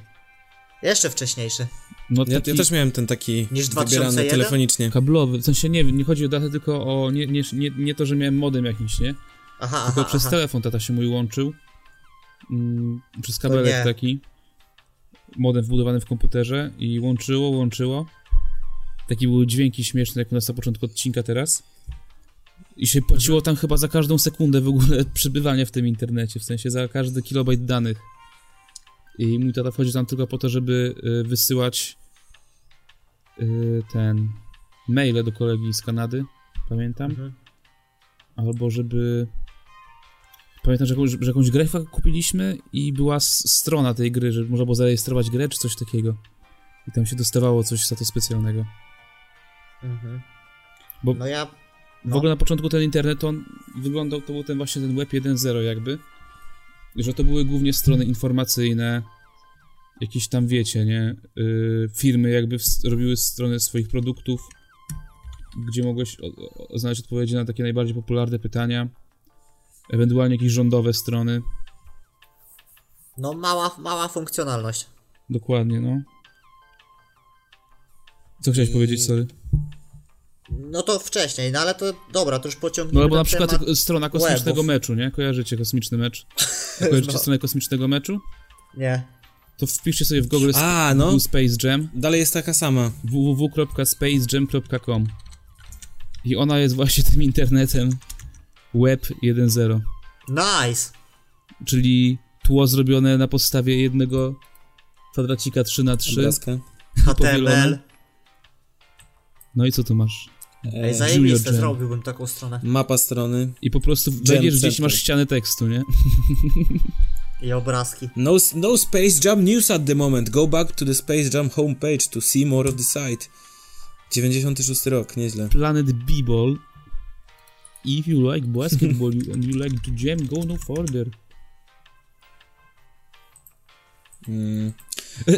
Speaker 1: Jeszcze wcześniejszy.
Speaker 2: no
Speaker 3: Ja,
Speaker 2: taki
Speaker 3: ja też miałem ten taki
Speaker 1: Niż
Speaker 3: wybierany
Speaker 1: 2001?
Speaker 3: telefonicznie.
Speaker 2: kablowy, w sensie nie, nie chodzi o datę, tylko o, nie, nie, nie, nie to, że miałem modem jakiś, nie?
Speaker 1: Aha,
Speaker 2: Tylko
Speaker 1: aha,
Speaker 2: przez
Speaker 1: aha.
Speaker 2: telefon tata się mój łączył. Mm, przez kabelek
Speaker 1: nie.
Speaker 2: taki. Modem wbudowany w komputerze i łączyło, łączyło. Takie były dźwięki śmieszne, jak u nas na początku odcinka teraz. I się
Speaker 1: Mhm.
Speaker 2: płaciło tam chyba za (laughs) każdą sekundę w ogóle przebywania w tym internecie, w sensie za każdy kilobajt danych. I mój tata wchodził tam tylko po to, żeby y, wysyłać y, ten maile do kolegi z Kanady, pamiętam.
Speaker 1: Mhm.
Speaker 2: Albo żeby... Pamiętam, że jakąś, że jakąś grę chyba kupiliśmy i była s- strona tej gry, że można było zarejestrować grę czy coś takiego. I tam się dostawało coś za to specjalnego.
Speaker 1: Mhm.
Speaker 2: Bo-
Speaker 1: No ja.
Speaker 2: W
Speaker 1: No.
Speaker 2: ogóle na początku ten internet, on wyglądał, to był ten właśnie ten web 1.0 jakby, że to były głównie strony informacyjne, jakieś tam wiecie, nie, yy, firmy jakby ws- robiły strony swoich produktów, gdzie mogłeś o- o- znaleźć odpowiedzi na takie najbardziej popularne pytania, ewentualnie jakieś rządowe strony,
Speaker 1: No mała, mała funkcjonalność.
Speaker 2: dokładnie, no. Co chciałeś
Speaker 1: I-
Speaker 2: powiedzieć, sorry?
Speaker 1: No to wcześniej, no ale to dobra, to już
Speaker 2: No
Speaker 1: pociągnijmy.
Speaker 2: albo na
Speaker 1: ten
Speaker 2: przykład
Speaker 1: temat.
Speaker 2: strona kosmicznego
Speaker 1: webów.
Speaker 2: meczu, nie? Kojarzycie
Speaker 1: (laughs)
Speaker 2: kosmiczny mecz? Kojarzycie
Speaker 1: No.
Speaker 2: stronę kosmicznego meczu?
Speaker 1: Nie.
Speaker 2: to wpiszcie sobie w Google sp-
Speaker 3: A, no.
Speaker 2: Google Space Jam
Speaker 3: Dalej jest taka sama.
Speaker 2: www.spacejam.com i ona jest właśnie tym internetem Web 1.0, (laughs)
Speaker 1: Nice!
Speaker 2: czyli tło zrobione na podstawie jednego kwadracika 3 na 3
Speaker 3: Obrazka.
Speaker 1: HTML.
Speaker 2: Powielone. No i co tu masz?
Speaker 1: Ej,
Speaker 3: E,
Speaker 2: Junior
Speaker 1: zajebiste,
Speaker 2: Jam.
Speaker 1: zrobiłbym taką stronę.
Speaker 3: mapa strony.
Speaker 2: I po prostu wejdziesz gdzieś
Speaker 3: center.
Speaker 2: masz ścianę tekstu, nie?
Speaker 1: I obrazki.
Speaker 3: No, no Space Jam news at the moment. Go back to the Space Jam homepage to see more of the site. 96 rok, nieźle.
Speaker 2: Planet B-Ball If you like basketball you, and you like to jam, go no further.
Speaker 3: Mm.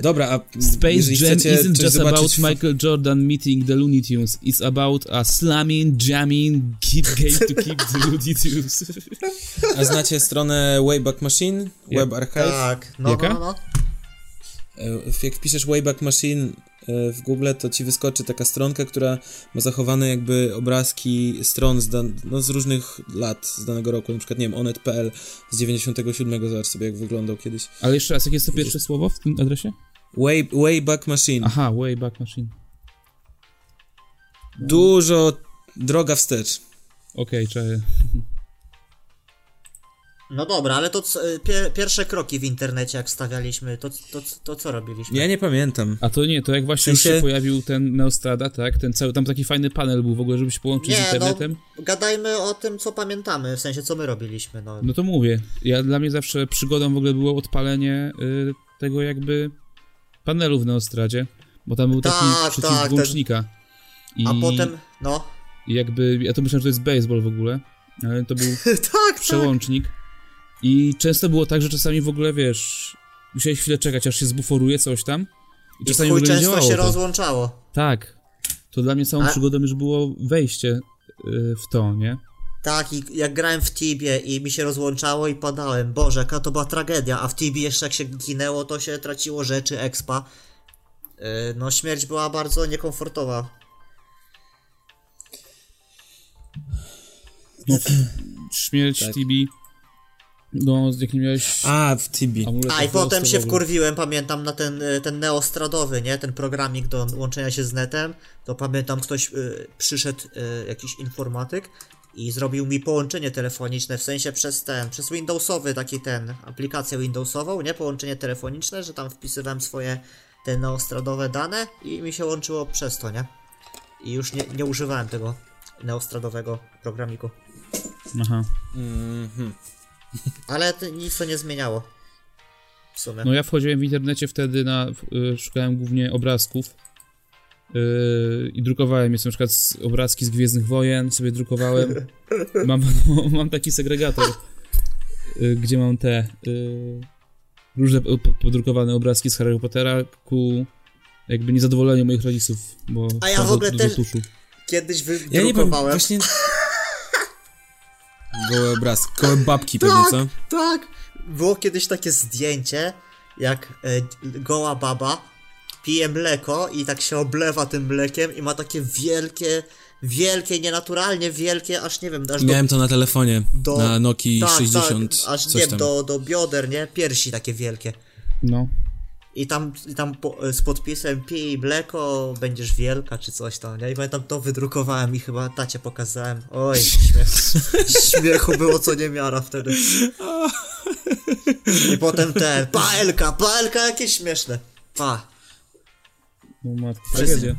Speaker 3: Dobra, a
Speaker 2: Space
Speaker 3: jeżeli
Speaker 2: Jam
Speaker 3: chcecie
Speaker 2: isn't
Speaker 3: coś
Speaker 2: just about
Speaker 3: zobaczyć,
Speaker 2: Michael Jordan meeting the Looney Tunes. It's about a slamming, jamming,
Speaker 3: (laughs)
Speaker 2: keep game to keep the Looney Tunes.
Speaker 3: (laughs) A znacie stronę Wayback Machine? Web Archive?
Speaker 1: Tak, no,
Speaker 2: Jaka?
Speaker 1: no, no.
Speaker 3: E, Jak wpiszesz Wayback Machine e, w Google, to ci wyskoczy taka stronka, która ma zachowane jakby obrazki stron z, dan- no, z różnych lat, z danego roku, na przykład, nie wiem, onet.pl z 97, zobacz sobie jak wyglądał kiedyś.
Speaker 2: Ale jeszcze raz, jakie jest to pierwsze słowo w tym adresie?
Speaker 3: Way, Wayback Machine.
Speaker 2: Aha, Wayback Machine.
Speaker 3: Dużo droga wstecz.
Speaker 2: Okej, czaję.
Speaker 1: No dobra, ale to co- y, pie, pierwsze kroki w internecie, jak stawialiśmy, to, to, to co robiliśmy?
Speaker 3: Ja nie pamiętam.
Speaker 2: A to nie, to jak właśnie
Speaker 3: W sensie-
Speaker 2: już się pojawił ten Neostrada, tak? Ten cały, tam taki fajny panel był w ogóle, żebyś połączył
Speaker 1: Nie,
Speaker 2: z internetem.
Speaker 1: no, gadajmy o tym, co pamiętamy, w sensie, co my robiliśmy, no.
Speaker 2: No to mówię. Ja, dla mnie zawsze przygodą w ogóle było odpalenie y, tego jakby panelu w Neostradzie, bo tam był taki
Speaker 1: Tak,
Speaker 2: przycisk
Speaker 1: tak, ten-
Speaker 2: włącznika. I,
Speaker 1: A potem, no, (laughs)
Speaker 2: i jakby, ja to myślałem, że to jest baseball w ogóle, ale to był
Speaker 1: (laughs) tak, tak.
Speaker 2: przełącznik. I często było tak, że czasami w ogóle, wiesz, musiałeś chwilę czekać, aż się zbuforuje coś tam. I
Speaker 1: I
Speaker 2: czasami w
Speaker 1: chuj
Speaker 2: ogóle nie
Speaker 1: często
Speaker 2: działało
Speaker 1: się
Speaker 2: to.
Speaker 1: rozłączało.
Speaker 2: Tak. To dla mnie całą
Speaker 1: A-
Speaker 2: przygodą już było wejście y, w to, nie?
Speaker 1: Tak, i jak grałem w Tibie i mi się rozłączało i padałem, boże, jaka to była tragedia, a w Tibie jeszcze jak się ginęło, to się traciło rzeczy, expa. Yy, no, śmierć była bardzo niekomfortowa.
Speaker 2: Śmierć,
Speaker 3: Tak.
Speaker 2: Tibi. No, jak nie miałeś
Speaker 3: A, w Tibi.
Speaker 2: amuletów
Speaker 1: A i potem się
Speaker 2: rozstawowych.
Speaker 1: wkurwiłem, pamiętam, na ten, y, ten neostradowy, nie? Ten programik do łączenia się z netem. To pamiętam, ktoś y, przyszedł, y, jakiś informatyk i zrobił mi połączenie telefoniczne, w sensie przez ten, przez Windowsowy taki ten, aplikację Windowsową, nie? Połączenie telefoniczne, że tam wpisywałem swoje te neostradowe dane i mi się łączyło przez to, nie? I już nie, nie używałem tego neostradowego programiku.
Speaker 2: Aha.
Speaker 3: Mhm.
Speaker 1: Ale to, nic to nie zmieniało. W sumie.
Speaker 2: No ja wchodziłem w internecie wtedy na, w- y, szukałem głównie obrazków y, i drukowałem, jest na przykład z, obrazki z Gwiezdnych Wojen,
Speaker 1: (laughs)
Speaker 2: sobie drukowałem. Mam, (laughs) mam taki segregator, y, gdzie mam te y, różne po- po- podrukowane obrazki z Harry Pottera ku jakby niezadowoleniu moich rodziców, bo
Speaker 1: A ja w
Speaker 2: wpadło
Speaker 1: ogóle
Speaker 2: dużo
Speaker 1: też-
Speaker 2: tuszu.
Speaker 1: Kiedyś wydrukowałem.
Speaker 3: Ja nie pamiętam. Właśnie... Gołe obraz. Gołe babki pewnie, co?
Speaker 1: Tak, było kiedyś takie zdjęcie, jak e, goła baba pije mleko i tak się oblewa tym mlekiem i ma takie wielkie, wielkie, nienaturalnie wielkie, aż nie wiem, aż do...
Speaker 3: Miałem to na telefonie,
Speaker 1: do
Speaker 3: na Noki
Speaker 1: tak,
Speaker 3: 60,
Speaker 1: tak, aż nie
Speaker 3: coś
Speaker 1: wiem,
Speaker 3: tam.
Speaker 1: do, do bioder, nie? Piersi takie wielkie.
Speaker 2: No.
Speaker 1: I tam, i tam po, e, z podpisem pij mleko, będziesz wielka, czy coś tam, nie? I pamiętam, to wydrukowałem i chyba tacie
Speaker 3: (laughs)
Speaker 1: pokazałem. Oj, śmiech, śmiechu było co niemiara wtedy. I potem ten, paelka, paelka jakieś śmieszne. Pa. (laughs)
Speaker 2: No matko,
Speaker 1: Wszyscy-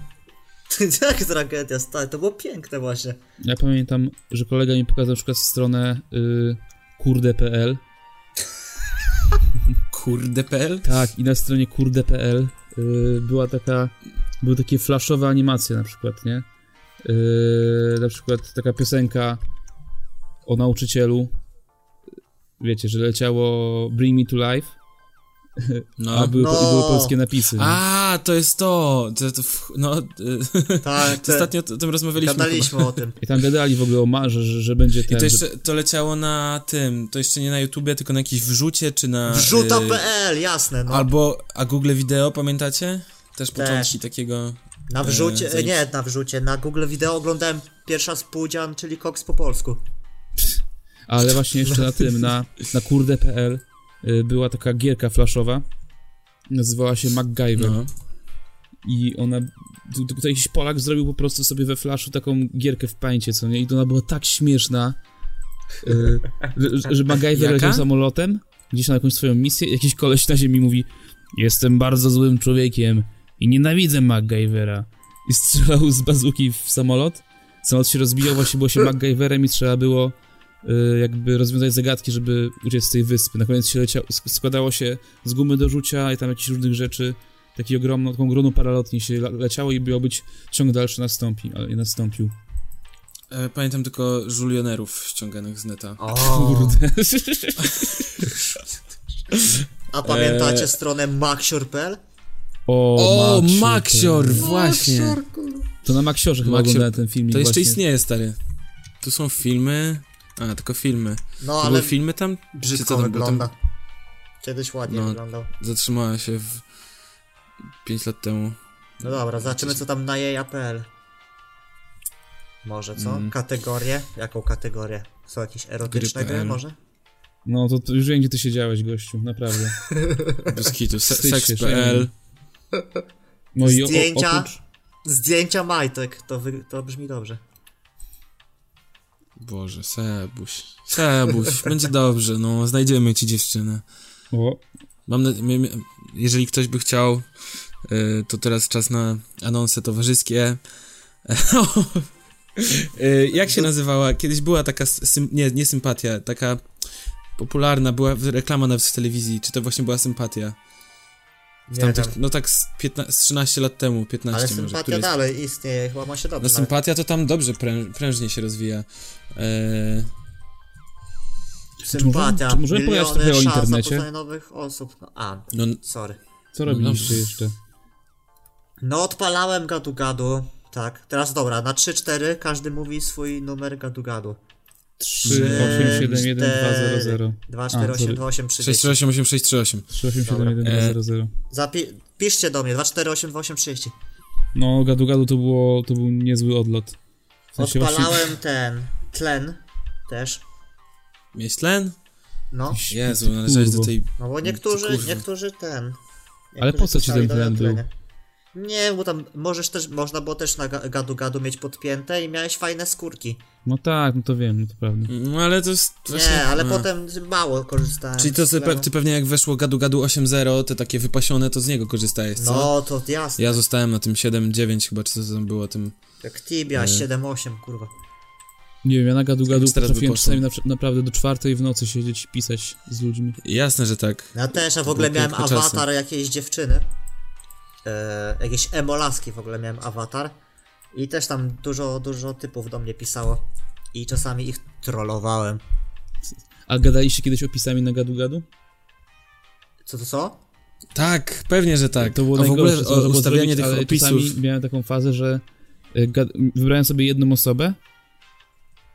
Speaker 2: tragedia.
Speaker 1: Jak tragedia, stary, to było piękne właśnie.
Speaker 2: Ja pamiętam, że kolega mi pokazał na przykład stronę y, kurde.pl.
Speaker 3: Kurde.pl?
Speaker 2: Tak, i na stronie kurde.pl y, była taka, były takie flashowe animacje na przykład, nie? Y, na przykład taka piosenka o nauczycielu. Wiecie, że leciało Bring Me To Life, a
Speaker 3: No.
Speaker 2: były,
Speaker 1: No.
Speaker 2: i były polskie napisy. nie?
Speaker 3: A, to jest to! to, to w- no, (laughs) y,
Speaker 1: Tak, te,
Speaker 3: ostatnio o tym rozmawialiśmy. chyba.
Speaker 1: gadaliśmy o tym.
Speaker 2: I tam gadali w ogóle o marze, że, że będzie ten,
Speaker 3: I to
Speaker 2: że,
Speaker 3: jeszcze to leciało na tym, to jeszcze nie na YouTubie, tylko na jakiejś wrzucie, czy na... y,
Speaker 1: Wrzuta.pl, jasne, no.
Speaker 3: Albo, a Google Video, pamiętacie? Też początki takiego...
Speaker 1: Na wrzucie,
Speaker 3: zajebiście.
Speaker 1: nie, na wrzucie, na Google Video oglądałem pierwsza spółdzian, czyli koks po polsku.
Speaker 2: ale właśnie jeszcze na tym, na, na kurde.pl y, była taka gierka flashowa, nazywała się MacGyver.
Speaker 3: No.
Speaker 2: I ona. tu- tu- Tutaj jakiś Polak zrobił po prostu sobie we flashu taką gierkę w pańcie, co nie? I to ona była tak śmieszna, y, że, że MacGyver
Speaker 3: Jaka?
Speaker 2: leciał samolotem gdzieś na jakąś swoją misję. i Jakiś koleś na ziemi mówi: Jestem bardzo złym człowiekiem i nienawidzę MacGyvera. I strzelał z bazuki w samolot. Samolot się rozbijał, właśnie było się MacGyverem i trzeba było y, jakby rozwiązać zagadki, żeby uciec z tej wyspy. Na koniec się leciał, sk- składało się z gumy do rzucia i tam jakichś różnych rzeczy. Taki ogromną, taką ogromną paralotnię się la- leciało i miał być ciąg dalszy nastąpi, ale nie nastąpił.
Speaker 3: E, Pamiętam tylko żulionerów ściąganych z neta.
Speaker 1: O.
Speaker 3: (laughs)
Speaker 2: Kurde.
Speaker 1: A pamiętacie
Speaker 3: E,
Speaker 1: stronę maxior.pl?
Speaker 2: O,
Speaker 3: O,
Speaker 2: Maksiu,
Speaker 3: Maxior, właśnie!
Speaker 2: To, to na Maksiorze chyba
Speaker 3: Maksior-
Speaker 2: oglądałem ten filmik
Speaker 3: To jeszcze
Speaker 2: właśnie.
Speaker 3: istnieje, stary. Tu są filmy... A, tylko filmy.
Speaker 1: No,
Speaker 3: To
Speaker 1: ale
Speaker 3: były filmy tam? Czy co
Speaker 1: brzydko
Speaker 3: tam było? Tam
Speaker 1: wygląda. Kiedyś ładnie
Speaker 3: No.
Speaker 1: wyglądał.
Speaker 3: zatrzymała się w... 5
Speaker 1: (laughs)
Speaker 3: lat temu.
Speaker 1: No dobra, zobaczymy co tam na jeja.pl. Może
Speaker 3: Mm.
Speaker 1: co? Kategorię? Jaką kategorię? Są jakieś erotyczne
Speaker 3: Gry.pl.
Speaker 1: gry może?
Speaker 2: No to, to już wiem, gdzie ty siedziałeś, gościu, naprawdę.
Speaker 3: Bez kitu. Se-
Speaker 2: Wstydź się,
Speaker 3: Sex.pl.
Speaker 2: No i o,
Speaker 1: Zdjęcia?
Speaker 2: oprócz...
Speaker 1: Zdjęcia majtek, to, wy... to brzmi dobrze.
Speaker 3: Boże, Sebuś. Sebuś, będzie dobrze, no, znajdziemy ci dziewczynę.
Speaker 2: O,
Speaker 3: Mam na, mie- mie- jeżeli ktoś by chciał, y, to teraz czas na anonse towarzyskie. (laughs) Y, Jak się nazywała? Kiedyś była taka, sym, nie, nie sympatia, taka popularna, była reklama nawet w telewizji, czy to właśnie była sympatia? W
Speaker 1: Nie
Speaker 3: tamtych,
Speaker 1: wiem.
Speaker 3: no tak z, 15, z 13 lat temu, 15
Speaker 1: Ale
Speaker 3: może.
Speaker 1: sympatia
Speaker 3: któryś-
Speaker 1: dalej istnieje, chyba ma się
Speaker 3: no
Speaker 1: dobrze. nawet.
Speaker 3: sympatia to tam dobrze prę, prężnie się rozwija. E,
Speaker 1: Sympatia.
Speaker 2: Czy możemy- czy możemy powiedzieć
Speaker 1: Miliony
Speaker 2: trochę o
Speaker 1: szans na
Speaker 2: internecie?
Speaker 1: poznanie nowych osób. No, a,
Speaker 3: no,
Speaker 1: sorry.
Speaker 2: co
Speaker 3: No
Speaker 2: robiliście
Speaker 3: dobrze.
Speaker 2: jeszcze?
Speaker 1: No odpalałem gadu gadu. Tak, teraz dobra, na 3-4 każdy mówi swój numer gadu gadu.
Speaker 2: 3, 8, 7, 1, 2, 0, 0.
Speaker 1: 2,
Speaker 2: A,
Speaker 1: 4,
Speaker 2: sorry.
Speaker 1: 8, 2, 8, 30.
Speaker 3: 638 638.
Speaker 2: 3, 8, 7, 1, 2, 0, 0.
Speaker 1: Zapi- piszcie do mnie, 2, 4, 8, 2, 8, 30.
Speaker 2: No, gadu gadu to, było, to był niezły odlot. W sensie właśnie...
Speaker 1: Odpalałem ten tlen też.
Speaker 3: Mieć tlen?
Speaker 1: No,
Speaker 3: Jezu, należałeś do tej...
Speaker 1: no bo niektórzy,
Speaker 3: kurwa.
Speaker 1: niektórzy ten.
Speaker 2: Ale
Speaker 1: niektórzy
Speaker 2: po co ci
Speaker 1: pisali
Speaker 2: ten
Speaker 1: do mnie
Speaker 2: tlen
Speaker 1: o
Speaker 2: był?
Speaker 1: tlenie. Nie, bo tam możesz też, można było też na ga- gadu gadu mieć podpięte i miałeś fajne skórki.
Speaker 2: No tak, no to wiem, no to prawda.
Speaker 3: No ale to jest... właśnie- no.
Speaker 1: Nie, ale
Speaker 2: No.
Speaker 3: a.
Speaker 1: potem mało korzystałem.
Speaker 3: Czyli to
Speaker 1: z
Speaker 3: sobie,
Speaker 1: tlenu.
Speaker 3: pe- ty pewnie jak weszło gadu gadu 8.0, te takie wypasione, to z niego korzystajesz, co?
Speaker 1: No, to jasne.
Speaker 3: Ja zostałem na tym 7.9 chyba, czy co tam było tym...
Speaker 1: Jak
Speaker 3: E.
Speaker 1: Tibia 7-8, kurwa.
Speaker 2: Nie wiem, ja na gadu gadu
Speaker 3: Jakbyś teraz
Speaker 2: potrafiłem
Speaker 3: by poszło.
Speaker 2: czasami na, naprawdę do czwartej w nocy siedzieć i pisać z ludźmi.
Speaker 3: Jasne, że tak.
Speaker 1: Ja też, a w
Speaker 3: To
Speaker 1: ogóle
Speaker 3: były
Speaker 1: miałem
Speaker 3: piękne
Speaker 1: awatar jakiejś dziewczyny. E, jakieś emolaski w ogóle miałem awatar. I też tam dużo, dużo typów do mnie pisało. I czasami ich trollowałem.
Speaker 2: A gadaliście kiedyś opisami na gadu gadu?
Speaker 1: Co to co?
Speaker 3: Tak, pewnie, że tak.
Speaker 2: To było
Speaker 3: A w ogóle
Speaker 2: najgorsze, co
Speaker 3: o,
Speaker 2: można było
Speaker 3: ustawianie
Speaker 2: zrobić, ale
Speaker 3: tych opisów...
Speaker 2: Czasami miałem taką fazę, że y, gad- wybrałem sobie jedną osobę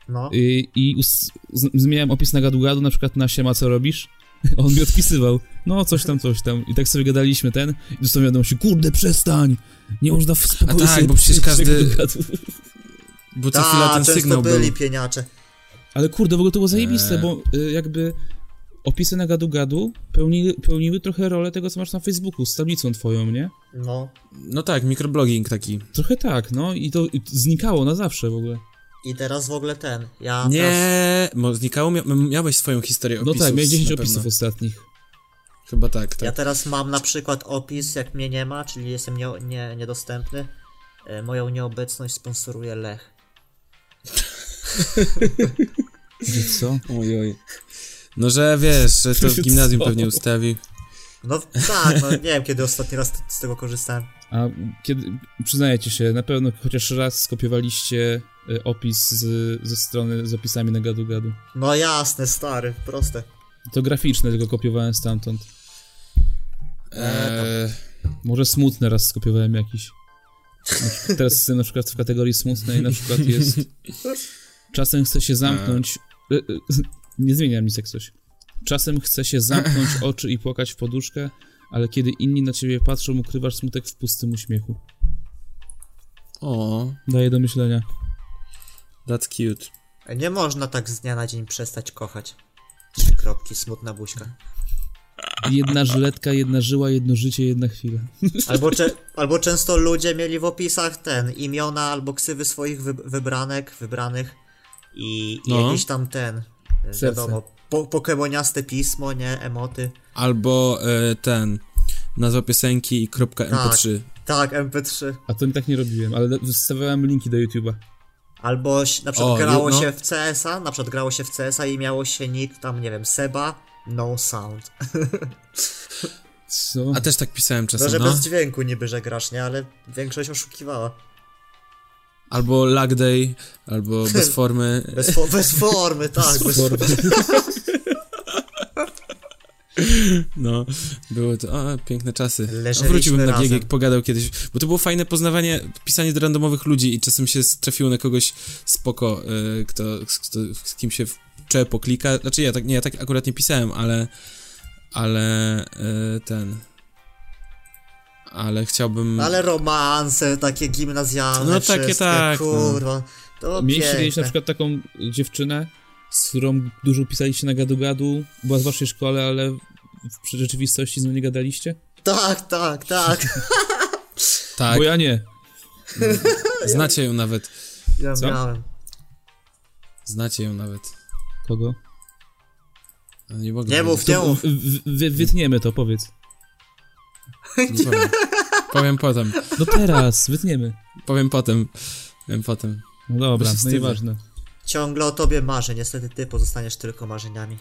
Speaker 1: No.
Speaker 2: y, i us- z- zmieniałem opis na gadu gadu, na przykład na siema, co robisz? (laughs) A On mi odpisywał, no coś tam, coś tam. I tak sobie gadaliśmy ten i dostałem wiadomości, kurde przestań, nie można w spokoju
Speaker 3: A tak,
Speaker 2: sobie
Speaker 3: bo przecież
Speaker 2: pisać na
Speaker 3: każdy-
Speaker 2: gadu-gadu.
Speaker 3: Bo co chwila
Speaker 1: Ta,
Speaker 3: ten
Speaker 1: często
Speaker 3: sygnał był.
Speaker 1: byli pieniacze.
Speaker 2: Ale kurde, w ogóle to było zajebiste,
Speaker 3: Eee.
Speaker 2: bo y, jakby opisy na gadu-gadu pełniły, pełniły trochę rolę tego, co masz na Facebooku z tablicą twoją, nie?
Speaker 1: No.
Speaker 3: No tak, mikroblogging taki.
Speaker 2: Trochę tak, no i to i to znikało na zawsze w ogóle.
Speaker 1: I teraz w ogóle ten. Ja teraz
Speaker 3: Nie, mo- znikało, mia- miałeś swoją historię
Speaker 2: No
Speaker 3: opisów.
Speaker 2: tak, miałem 10
Speaker 3: na pewno.
Speaker 2: opisów ostatnich.
Speaker 3: Chyba tak, tak.
Speaker 1: Ja teraz mam na przykład opis, jak mnie nie ma, czyli jestem nie, nie, niedostępny. E, Moją nieobecność sponsoruje Lech.
Speaker 2: Że co?
Speaker 3: Oj, oj. No, że wiesz, że to
Speaker 2: (laughs)
Speaker 3: w
Speaker 2: Co?
Speaker 3: gimnazjum pewnie ustawił.
Speaker 1: No tak, no nie wiem kiedy ostatni raz t- z tego korzystałem.
Speaker 2: A kiedy, przyznajecie się, na pewno chociaż raz skopiowaliście y, opis z, ze strony z opisami na gadu gadu.
Speaker 1: No jasne, stary, proste.
Speaker 2: To graficzne, tylko kopiowałem stamtąd.
Speaker 1: E,
Speaker 3: Eee,
Speaker 2: Może smutne raz skopiowałem jakiś. Na przykład Teraz jestem na przykład w kategorii smutnej, na przykład jest. Czasem chcę się zamknąć. y, y, Nie zmieniam nic jak coś. Czasem chcę się zamknąć oczy i płakać w poduszkę, ale kiedy inni na ciebie patrzą, ukrywasz smutek w pustym uśmiechu.
Speaker 3: o,
Speaker 2: Daje do myślenia.
Speaker 3: that's cute.
Speaker 1: Nie można tak z dnia na dzień przestać kochać. Trzy kropki, smutna buźka.
Speaker 2: Jedna żyletka, jedna żyła, jedno życie, jedna chwila.
Speaker 1: Albo, cze- albo często ludzie mieli w opisach ten imiona albo ksywy swoich wy- wybranek, wybranych i, i
Speaker 3: No.
Speaker 1: jakiś tam ten, e,
Speaker 2: Serce.
Speaker 1: wiadomo, po- pokemoniaste pismo, nie, emoty.
Speaker 3: Albo e, ten, nazwa piosenki i kropka mp3.
Speaker 1: Tak, MP3.
Speaker 2: A to tak nie robiłem, ale wystawiałem linki do YouTube'a.
Speaker 1: Albo ś- na przykład
Speaker 3: O,
Speaker 1: grało
Speaker 3: no.
Speaker 1: się w CS-a, na przykład grało się w CS-a i miało się nick tam, nie wiem, Seba, no sound.
Speaker 2: Co?
Speaker 3: A też tak pisałem
Speaker 1: No, że
Speaker 3: czasem, no.
Speaker 1: bez dźwięku niby, że grasz, nie? Ale większość oszukiwała.
Speaker 3: Albo lag day,
Speaker 1: (laughs)
Speaker 3: albo bez formy.
Speaker 1: Bez, fo- bez formy, tak. Bez
Speaker 2: Sorry.
Speaker 3: No, były to, o, piękne czasy.
Speaker 1: Leżeliśmy
Speaker 3: Wróciłbym na bieg,
Speaker 1: razem.
Speaker 3: jak pogadał kiedyś, bo to było fajne poznawanie, pisanie do randomowych ludzi i czasem się trafiło na kogoś spoko, y, kto, z- kto, z kim się cze poklika. Znaczy ja tak, nie, ja tak akurat nie pisałem, ale, ale y, ten, ale chciałbym...
Speaker 1: Ale romanse takie gimnazjalne.
Speaker 3: No, takie
Speaker 1: wszystkie,
Speaker 3: tak, no.
Speaker 1: Kurwa. To
Speaker 2: Mieliście kiedyś na
Speaker 1: piękne.
Speaker 2: przykład taką dziewczynę, z którą dużo pisaliście na gadu-gadu, była z waszej szkoły, ale w przy rzeczywistości z nią nie gadaliście?
Speaker 1: Tak, tak, tak.
Speaker 3: Tak,
Speaker 2: Bo ja nie.
Speaker 3: znacie ją nawet,
Speaker 1: Ja
Speaker 2: Co?
Speaker 1: miałem.
Speaker 3: znacie ją nawet.
Speaker 2: Kogo?
Speaker 3: No, Nie, mogę
Speaker 1: Nie
Speaker 3: powiedzieć.
Speaker 1: mów, nie mów.
Speaker 2: W, w, wy- wytniemy to, powiedz.
Speaker 3: (laughs) Nie powiem. powiem potem,
Speaker 2: No teraz, (laughs) wytniemy.
Speaker 3: powiem potem, powiem potem.
Speaker 2: No dobra,
Speaker 3: Bo się
Speaker 2: no
Speaker 3: wstydzę.
Speaker 2: nieważne.
Speaker 1: Ciągle o tobie marzę, niestety ty pozostaniesz tylko marzeniami.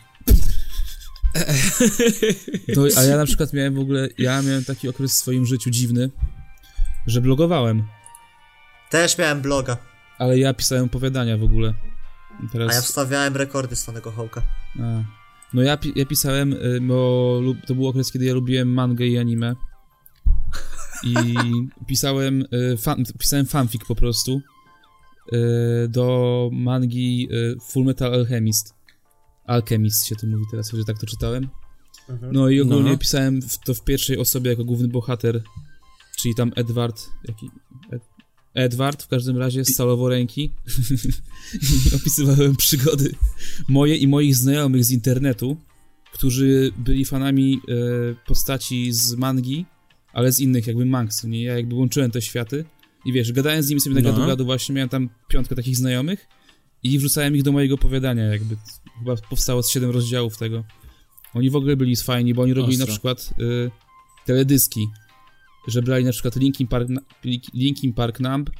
Speaker 2: To, a ja na przykład miałem w ogóle, ja miałem taki okres w swoim życiu dziwny, że blogowałem,
Speaker 1: Też miałem bloga,
Speaker 2: ale ja pisałem opowiadania w ogóle. I Teraz...
Speaker 1: a ja wstawiałem rekordy z Tonego Hołka.
Speaker 2: A. No ja, pi- ja pisałem, y, bo lub- to był okres, kiedy ja lubiłem mangę i anime. I pisałem, y, fan, pisałem fanfic po prostu y, do mangi y, Full Metal Alchemist. Alchemist się to mówi teraz, że tak to czytałem. No i ogólnie
Speaker 3: No.
Speaker 2: pisałem w, to w pierwszej osobie jako główny bohater, czyli tam Edward, jaki, Ed, Edward w każdym razie scalował ręki (laughs) i opisywałem przygody moje i moich znajomych z internetu, którzy byli fanami e, postaci z mangi, ale z innych jakby mang, co nie? Ja jakby łączyłem te światy i wiesz, gadałem z nimi sobie na
Speaker 3: No.
Speaker 2: gadu gadu właśnie, miałem tam piątkę takich znajomych i wrzucałem ich do mojego opowiadania jakby. Chyba powstało z siedem rozdziałów tego. Oni w ogóle byli fajni, bo oni robili na
Speaker 3: Ostro.
Speaker 2: przykład y, teledyski, że brali na przykład Linkin Park, na- Linkin Park Numb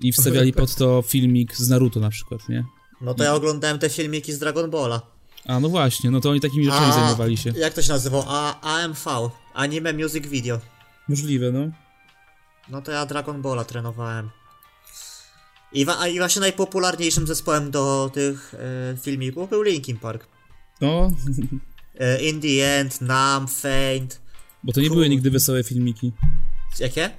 Speaker 2: i wstawiali
Speaker 3: tak.
Speaker 2: pod to filmik z Naruto na przykład, nie?
Speaker 1: No to ja oglądałem te filmiki z Dragon Balla.
Speaker 2: A no właśnie, no to oni takimi rzeczami
Speaker 1: A,
Speaker 2: zajmowali się.
Speaker 1: Jak to się nazywało? A, AMV, Anime Music Video.
Speaker 2: Możliwe, no.
Speaker 1: No to ja Dragon Balla trenowałem. I, wa- a, i właśnie najpopularniejszym zespołem do tych e, filmików był Linkin Park.
Speaker 2: No, (laughs)
Speaker 1: E, In the End, Numb, Faint.
Speaker 2: bo to nie
Speaker 1: Cool.
Speaker 2: były nigdy wesołe filmiki.
Speaker 1: Jakie?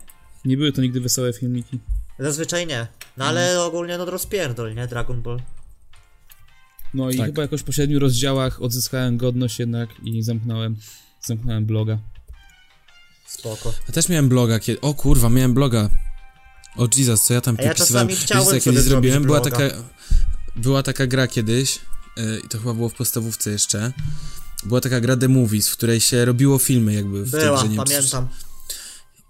Speaker 2: Nie były to nigdy wesołe filmiki.
Speaker 1: Zazwyczaj nie. No ale ogólnie no rozpierdol, nie? Dragon Ball.
Speaker 2: No i
Speaker 3: Tak.
Speaker 2: chyba jakoś po siedmiu rozdziałach odzyskałem godność jednak i zamknąłem, zamknąłem bloga.
Speaker 1: Spoko.
Speaker 3: Ja też miałem bloga kiedy. O kurwa, miałem bloga. O Jesus, co ja tam
Speaker 1: A ja
Speaker 3: pisywałem.
Speaker 1: czasami
Speaker 3: Wiecie, co
Speaker 1: chciałem
Speaker 3: ja kiedyś
Speaker 1: sobie
Speaker 3: zrobiłem?
Speaker 1: zrobić
Speaker 3: Była taka,
Speaker 1: bloga.
Speaker 3: była taka gra kiedyś, yy, i to chyba było w podstawówce jeszcze. Była taka gra The Movies, w której się robiło filmy jakby w tej
Speaker 1: Była,
Speaker 3: grze, nie wiem, czy-
Speaker 1: pamiętam.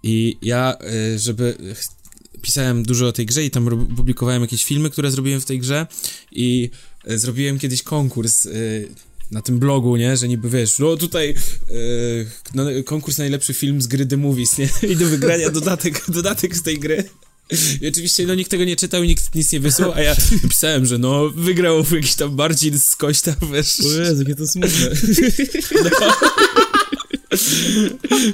Speaker 3: I ja, y, żeby ch- pisałem dużo o tej grze i tam rob- publikowałem jakieś filmy, które zrobiłem w tej grze i e, zrobiłem kiedyś konkurs y, na tym blogu, nie, że niby wiesz, no tutaj y, no, konkurs na najlepszy film z gry The Movies, nie, (laughs) i do wygrania dodatek, (laughs) dodatek z tej gry. I oczywiście no nikt tego nie czytał i nikt nic nie wysłał, a ja pisałem, że no wygrał jakiś tam Marcin z Kośta, wiesz.
Speaker 2: O Jezu, jakie to smutne.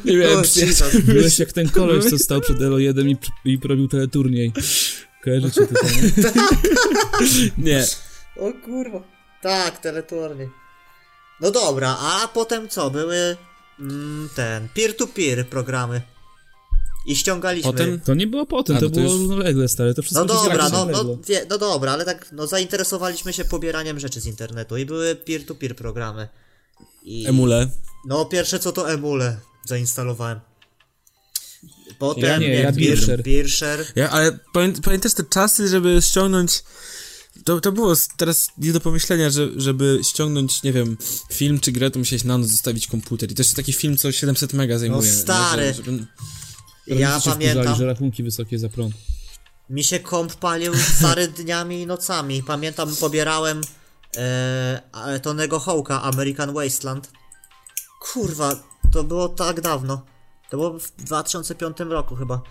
Speaker 3: Nie miałem przyjaciół.
Speaker 2: (laughs) Byłeś jak ten koleś, co stał przed Elo 1 i, i robił teleturniej. Kojarzycie to, nie?
Speaker 3: Nie.
Speaker 1: O kurwa. Tak, teleturniej. No dobra, a potem co? Były mm, ten peer-to-peer programy. I ściągaliśmy.
Speaker 3: Potem?
Speaker 2: To nie było potem,
Speaker 3: A,
Speaker 2: to,
Speaker 3: no to
Speaker 2: było
Speaker 3: już-
Speaker 2: równolegle, stare. To wszystko
Speaker 1: No
Speaker 2: tak się
Speaker 1: dobra,
Speaker 2: zrazu
Speaker 1: no, no,
Speaker 2: zległo.
Speaker 1: wie, no dobra, ale tak no zainteresowaliśmy się pobieraniem rzeczy z internetu i były peer-to-peer programy. I...
Speaker 3: Emule.
Speaker 1: No pierwsze co to emule zainstalowałem. Potem
Speaker 2: Ja nie, ja
Speaker 1: Birscher.
Speaker 2: Birscher.
Speaker 1: Birscher.
Speaker 3: Ja, ale pamię- pamiętasz te czasy, żeby ściągnąć. To, to było s- teraz nie do pomyślenia, że, żeby ściągnąć, nie wiem, film czy grę, to musiałeś na noc zostawić komputer. I też taki film, co 700 mega zajmuje. nie?
Speaker 1: No stary.
Speaker 3: Że, żeby...
Speaker 1: Ja
Speaker 2: Rodzice się wkurzali,
Speaker 1: pamiętam,
Speaker 2: że rachunki wysokie za prąd.
Speaker 1: mi się komp palił stary (laughs) dniami i nocami. Pamiętam, pobierałem e, a- Tonego Hołka, American Wasteland. Kurwa, to było tak dawno. To było w 2005 roku chyba.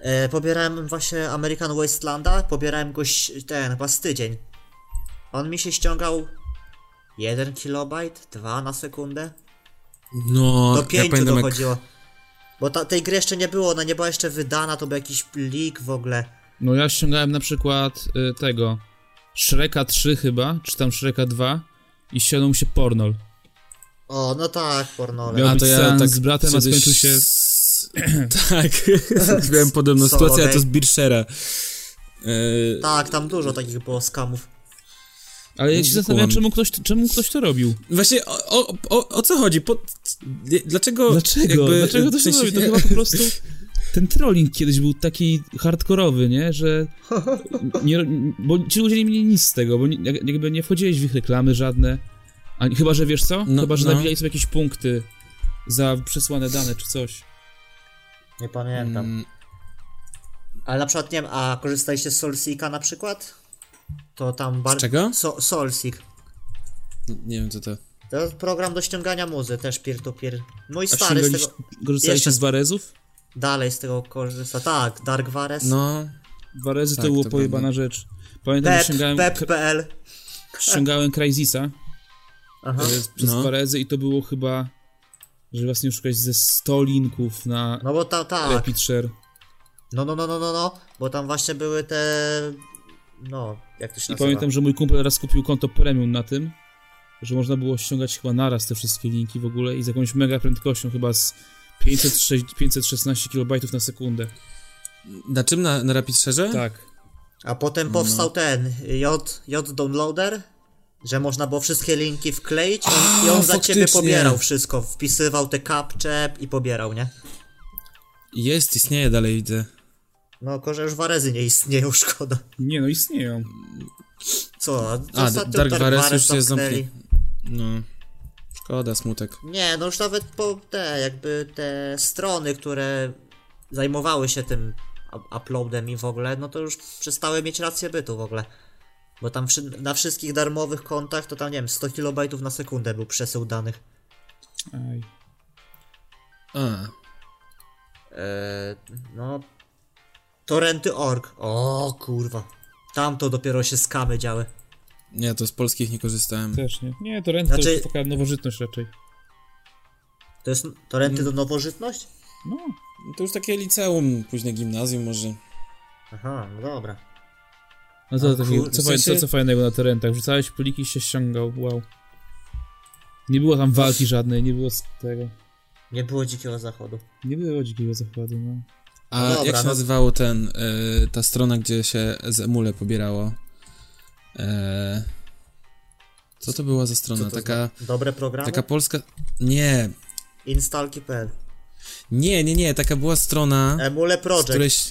Speaker 1: E, pobierałem właśnie American Wastelanda, pobierałem go ś- ten, chyba z tydzień. On mi się ściągał 1 kilobajt, 2 na sekundę.
Speaker 3: No,
Speaker 1: Do
Speaker 3: ja
Speaker 1: pięciu
Speaker 3: pamiętam jak.
Speaker 1: dochodziło. Bo ta, tej gry jeszcze nie było, ona nie była jeszcze wydana, to był jakiś leak w ogóle.
Speaker 2: No ja ściągałem na przykład y, tego Shreka 3 chyba, czy tam Shreka 2 i ściągnął mi się pornol.
Speaker 1: O, no tak, pornole.
Speaker 2: Miał
Speaker 3: A
Speaker 2: być
Speaker 3: to ja
Speaker 2: seans
Speaker 3: tak
Speaker 2: z bratem, a
Speaker 3: kiedyś
Speaker 2: skończył się...
Speaker 3: s- (clears throat) tak, (laughs) miałem podobną
Speaker 1: Solo
Speaker 3: sytuację, a to
Speaker 1: Day.
Speaker 3: z Birchera. Yy,
Speaker 1: Tak, tam dużo takich było skamów.
Speaker 2: Ale ja się
Speaker 3: Nie
Speaker 2: zastanawiam,
Speaker 3: kłam.
Speaker 2: czemu ktoś, czemu ktoś to robił?
Speaker 3: Właśnie o, o, o, o co chodzi? Po, No, dlaczego.
Speaker 2: Dlaczego?
Speaker 3: jakby-
Speaker 2: Dlaczego to
Speaker 3: w
Speaker 2: się
Speaker 3: sensie-
Speaker 2: robi? To chyba po prostu... Ten trolling kiedyś był taki hardkorowy, nie?
Speaker 3: (laughs)
Speaker 2: Że... Nie, ro- bo ci ludzie nie mieli nic z tego, bo nie, jak- jakby nie wchodziłeś w ich reklamy żadne. A, chyba, że wiesz co?
Speaker 3: No,
Speaker 2: chyba, że
Speaker 3: no.
Speaker 2: nabijali sobie jakieś punkty za przesłane dane czy coś.
Speaker 1: Nie pamiętam.
Speaker 3: Mm,
Speaker 1: Ale na przykład nie wiem, a korzystaliście z Solsika na przykład? To tam bardzo.
Speaker 3: czego?
Speaker 1: So, Solsik.
Speaker 3: (laughs) Nie wiem, co to.
Speaker 1: To jest program do ściągania muzy, też peer-to-peer. Mój
Speaker 2: A
Speaker 1: stary z
Speaker 2: ściągaliście,
Speaker 1: tego.
Speaker 2: korzystaliście
Speaker 1: Jeszcze-
Speaker 2: z Warezów?
Speaker 1: Dalej z tego korzysta. Tak, Dark Vares.
Speaker 3: No.
Speaker 2: Warezów
Speaker 3: Tak,
Speaker 2: to było
Speaker 3: to
Speaker 2: pojebana
Speaker 3: prawda.
Speaker 2: rzecz. Pamiętam, że
Speaker 1: Pep,
Speaker 2: ściągałem, k-
Speaker 1: Pep.pl.
Speaker 2: ściągałem Crysisa
Speaker 1: Aha.
Speaker 2: e, z- przez
Speaker 3: No.
Speaker 2: Warezy i to było chyba, że właśnie szukać ze 100 linków na
Speaker 1: No bo ta, tak.
Speaker 2: Rapid Share.
Speaker 1: No, no, no, no, no, no. Bo tam właśnie były te. No, jak to się
Speaker 2: I
Speaker 1: nazywa?
Speaker 2: pamiętam, że mój kumpel raz kupił konto premium na tym, że można było ściągać chyba naraz te wszystkie linki w ogóle i z jakąś mega prędkością, chyba z 506, 516 kB na sekundę.
Speaker 3: Na czym? Na, na Rapid Shareze?
Speaker 2: Tak.
Speaker 1: A
Speaker 3: No.
Speaker 1: potem powstał ten J, J Downloader, że można było wszystkie linki wkleić i on, i on za ciebie
Speaker 3: faktycznie.
Speaker 1: pobierał wszystko. Wpisywał te kapcze i pobierał, nie?
Speaker 3: Jest, istnieje dalej, widzę.
Speaker 1: No, tylko że już warezy nie istnieją, (laughs) szkoda.
Speaker 2: Nie no, istnieją.
Speaker 1: Co?
Speaker 3: A,
Speaker 1: ostatnio
Speaker 3: Dark Vares już się
Speaker 1: zamknęli.
Speaker 3: zamknie. No. Szkoda, smutek.
Speaker 1: Nie, no już nawet po te, jakby te strony, które zajmowały się tym up- uploadem i w ogóle, no to już przestały mieć rację bytu w ogóle. Bo tam wszy- na wszystkich darmowych kontach to tam, nie wiem, 100 kilobajtów na sekundę był przesył danych.
Speaker 2: Aj.
Speaker 3: A.
Speaker 1: Eee, no. Torrenty.org. O kurwa. Tam to dopiero się skamy działy.
Speaker 3: Nie, to z polskich nie korzystałem.
Speaker 2: Też nie. Nie, to renta
Speaker 1: Znaczy-
Speaker 2: to jest taka nowożytność raczej.
Speaker 1: To jest torrenty
Speaker 3: Mhm.
Speaker 1: to nowożytność?
Speaker 2: No.
Speaker 3: To już takie liceum, późne gimnazjum może.
Speaker 1: Aha, no dobra.
Speaker 2: No to,
Speaker 1: A
Speaker 2: to,
Speaker 1: kur-
Speaker 2: co,
Speaker 3: w
Speaker 2: faj-
Speaker 3: sensie-
Speaker 2: co, co fajnego na torrentach? Wrzucałeś pliki i się ściągał, wow. Nie było tam walki żadnej, nie było z tego.
Speaker 1: Nie było dzikiego zachodu.
Speaker 2: Nie było dzikiego zakładu, no.
Speaker 3: A
Speaker 1: No dobra,
Speaker 3: jak się
Speaker 1: no.
Speaker 3: nazywało ten, y, ta strona, gdzie się z emule pobierało? E, co to była za strona?
Speaker 1: Co to
Speaker 3: Taka,
Speaker 1: Dobre programy?
Speaker 3: taka polska... Nie,
Speaker 1: Instalki.pl
Speaker 3: nie, nie, nie, taka była strona...
Speaker 1: Emule
Speaker 3: z
Speaker 1: Project.
Speaker 3: którejś...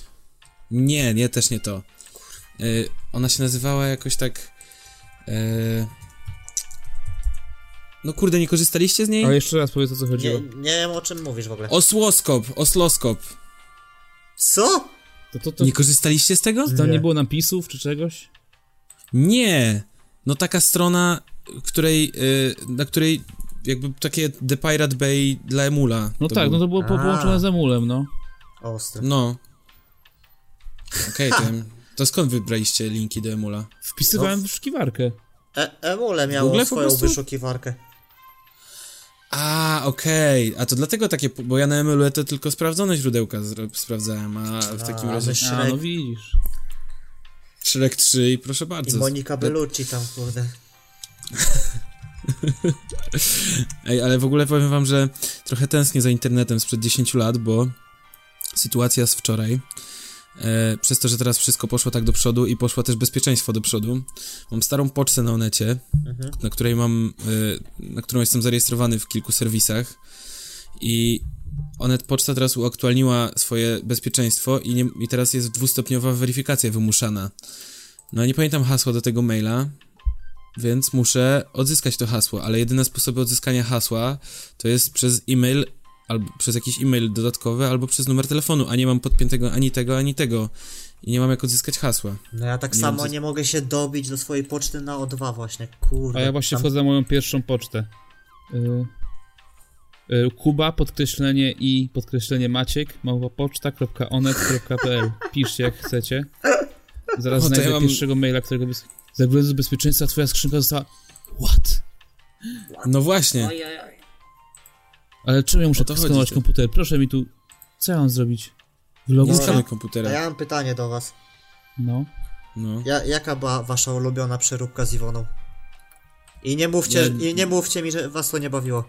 Speaker 3: Nie, nie, też nie to. Y, ona się nazywała jakoś tak... y, No kurde, nie korzystaliście z niej?
Speaker 2: Ale jeszcze raz powiedz o co
Speaker 1: Nie,
Speaker 2: chodziło.
Speaker 1: nie wiem o czym mówisz w ogóle.
Speaker 3: Osłoskop, osloskop.
Speaker 1: Co?
Speaker 2: To, to, to,
Speaker 3: Nie korzystaliście z tego?
Speaker 2: tam nie
Speaker 1: Nie.
Speaker 2: było napisów czy czegoś?
Speaker 3: Nie! No taka strona, której, y, na której jakby takie The Pirate Bay dla emula.
Speaker 2: No tak, no to było po,
Speaker 1: A.
Speaker 2: połączone z emulem, no.
Speaker 1: Ostry.
Speaker 3: No. Okej, to, to skąd wybraliście linki do emula?
Speaker 2: Wpisywałem w wyszukiwarkę.
Speaker 1: E Emule
Speaker 3: Google
Speaker 1: miało
Speaker 3: po
Speaker 1: swoją
Speaker 3: prostu?
Speaker 1: wyszukiwarkę.
Speaker 3: A, okej. A to dlatego takie, bo ja na emule to tylko sprawdzone źródełka zro- sprawdzałem, a w takim
Speaker 1: A,
Speaker 3: razie
Speaker 1: myśl-
Speaker 2: A,
Speaker 1: Shrek.
Speaker 2: no widzisz.
Speaker 3: Shrek 3 i proszę
Speaker 1: I
Speaker 3: bardzo.
Speaker 1: Monika Bellucci tam, kurde.
Speaker 3: Ej, ale w ogóle powiem wam, że trochę tęsknię za internetem sprzed 10 lat, bo sytuacja z wczoraj, e, przez to, że teraz wszystko poszło tak do przodu i poszło też bezpieczeństwo do przodu, mam starą pocztę na Onecie, na której mam, e, na którą jestem zarejestrowany w kilku serwisach i Onet Poczta teraz uaktualniła swoje bezpieczeństwo i, nie, i teraz jest dwustopniowa weryfikacja wymuszana. No nie pamiętam hasła do tego maila, więc muszę odzyskać to hasło, ale jedyne sposoby odzyskania hasła to jest przez e-mail, albo przez jakiś e-mail dodatkowy, albo przez numer telefonu, a nie mam podpiętego ani tego, ani tego. I nie mam jak odzyskać hasła.
Speaker 1: No ja tak
Speaker 3: Nie
Speaker 1: samo
Speaker 3: wiem, co-
Speaker 1: nie mogę się dobić do swojej poczty na O2 właśnie,
Speaker 2: A
Speaker 1: kurde.
Speaker 2: ja właśnie
Speaker 1: Tam-
Speaker 2: wchodzę na moją pierwszą pocztę. Y, y, Kuba, podkreślenie i podkreślenie Maciek, małpopoczta.onet.pl Piszcie jak chcecie. Zaraz
Speaker 3: O, No to
Speaker 2: znajdę
Speaker 3: ja mam-
Speaker 2: pierwszego maila, którego... Bez... Za względu bezpieczeństwa twoja skrzynka została... What?
Speaker 3: No właśnie.
Speaker 2: Ale czemu ja muszę
Speaker 3: O to chodzi,
Speaker 2: skanować
Speaker 3: ty.
Speaker 2: komputer? Proszę mi tu... Co ja mam zrobić? Wylogować?
Speaker 1: Dobra.
Speaker 3: Nie No skanuj
Speaker 1: A
Speaker 3: komputera.
Speaker 1: ja mam pytanie do was.
Speaker 2: No.
Speaker 3: No.
Speaker 1: Ja, jaka była wasza ulubiona przeróbka z Iwoną? I nie mówcie,
Speaker 3: Nie-
Speaker 1: i nie mówcie mi, że was to nie bawiło.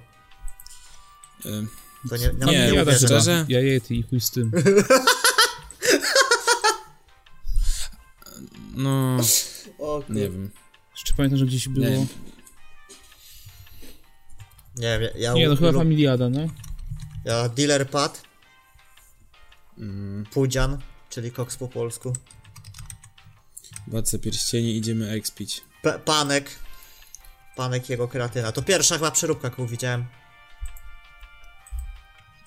Speaker 3: Ym,
Speaker 1: To nie, nie,
Speaker 3: Nie,
Speaker 1: nie,
Speaker 2: ja
Speaker 3: jada
Speaker 1: uwierzę.
Speaker 3: chyba.
Speaker 2: szczerze.
Speaker 3: szczerze?
Speaker 2: Ja jety i chuj z tym.
Speaker 3: No,
Speaker 1: O kur-
Speaker 3: nie wiem.
Speaker 2: Jeszcze pamiętam, że gdzieś było...
Speaker 3: Nie.
Speaker 1: Nie wiem, ja,
Speaker 2: Nie, no chyba
Speaker 1: lub-
Speaker 2: Familiada, no.
Speaker 1: ja Dealer Pad.
Speaker 3: Mm.
Speaker 1: Pudzian, czyli koks po polsku.
Speaker 3: Władce pierścieni, idziemy expić.
Speaker 1: P- panek. Panek jego kreatyna. To pierwsza chyba przeróbka, którą widziałem.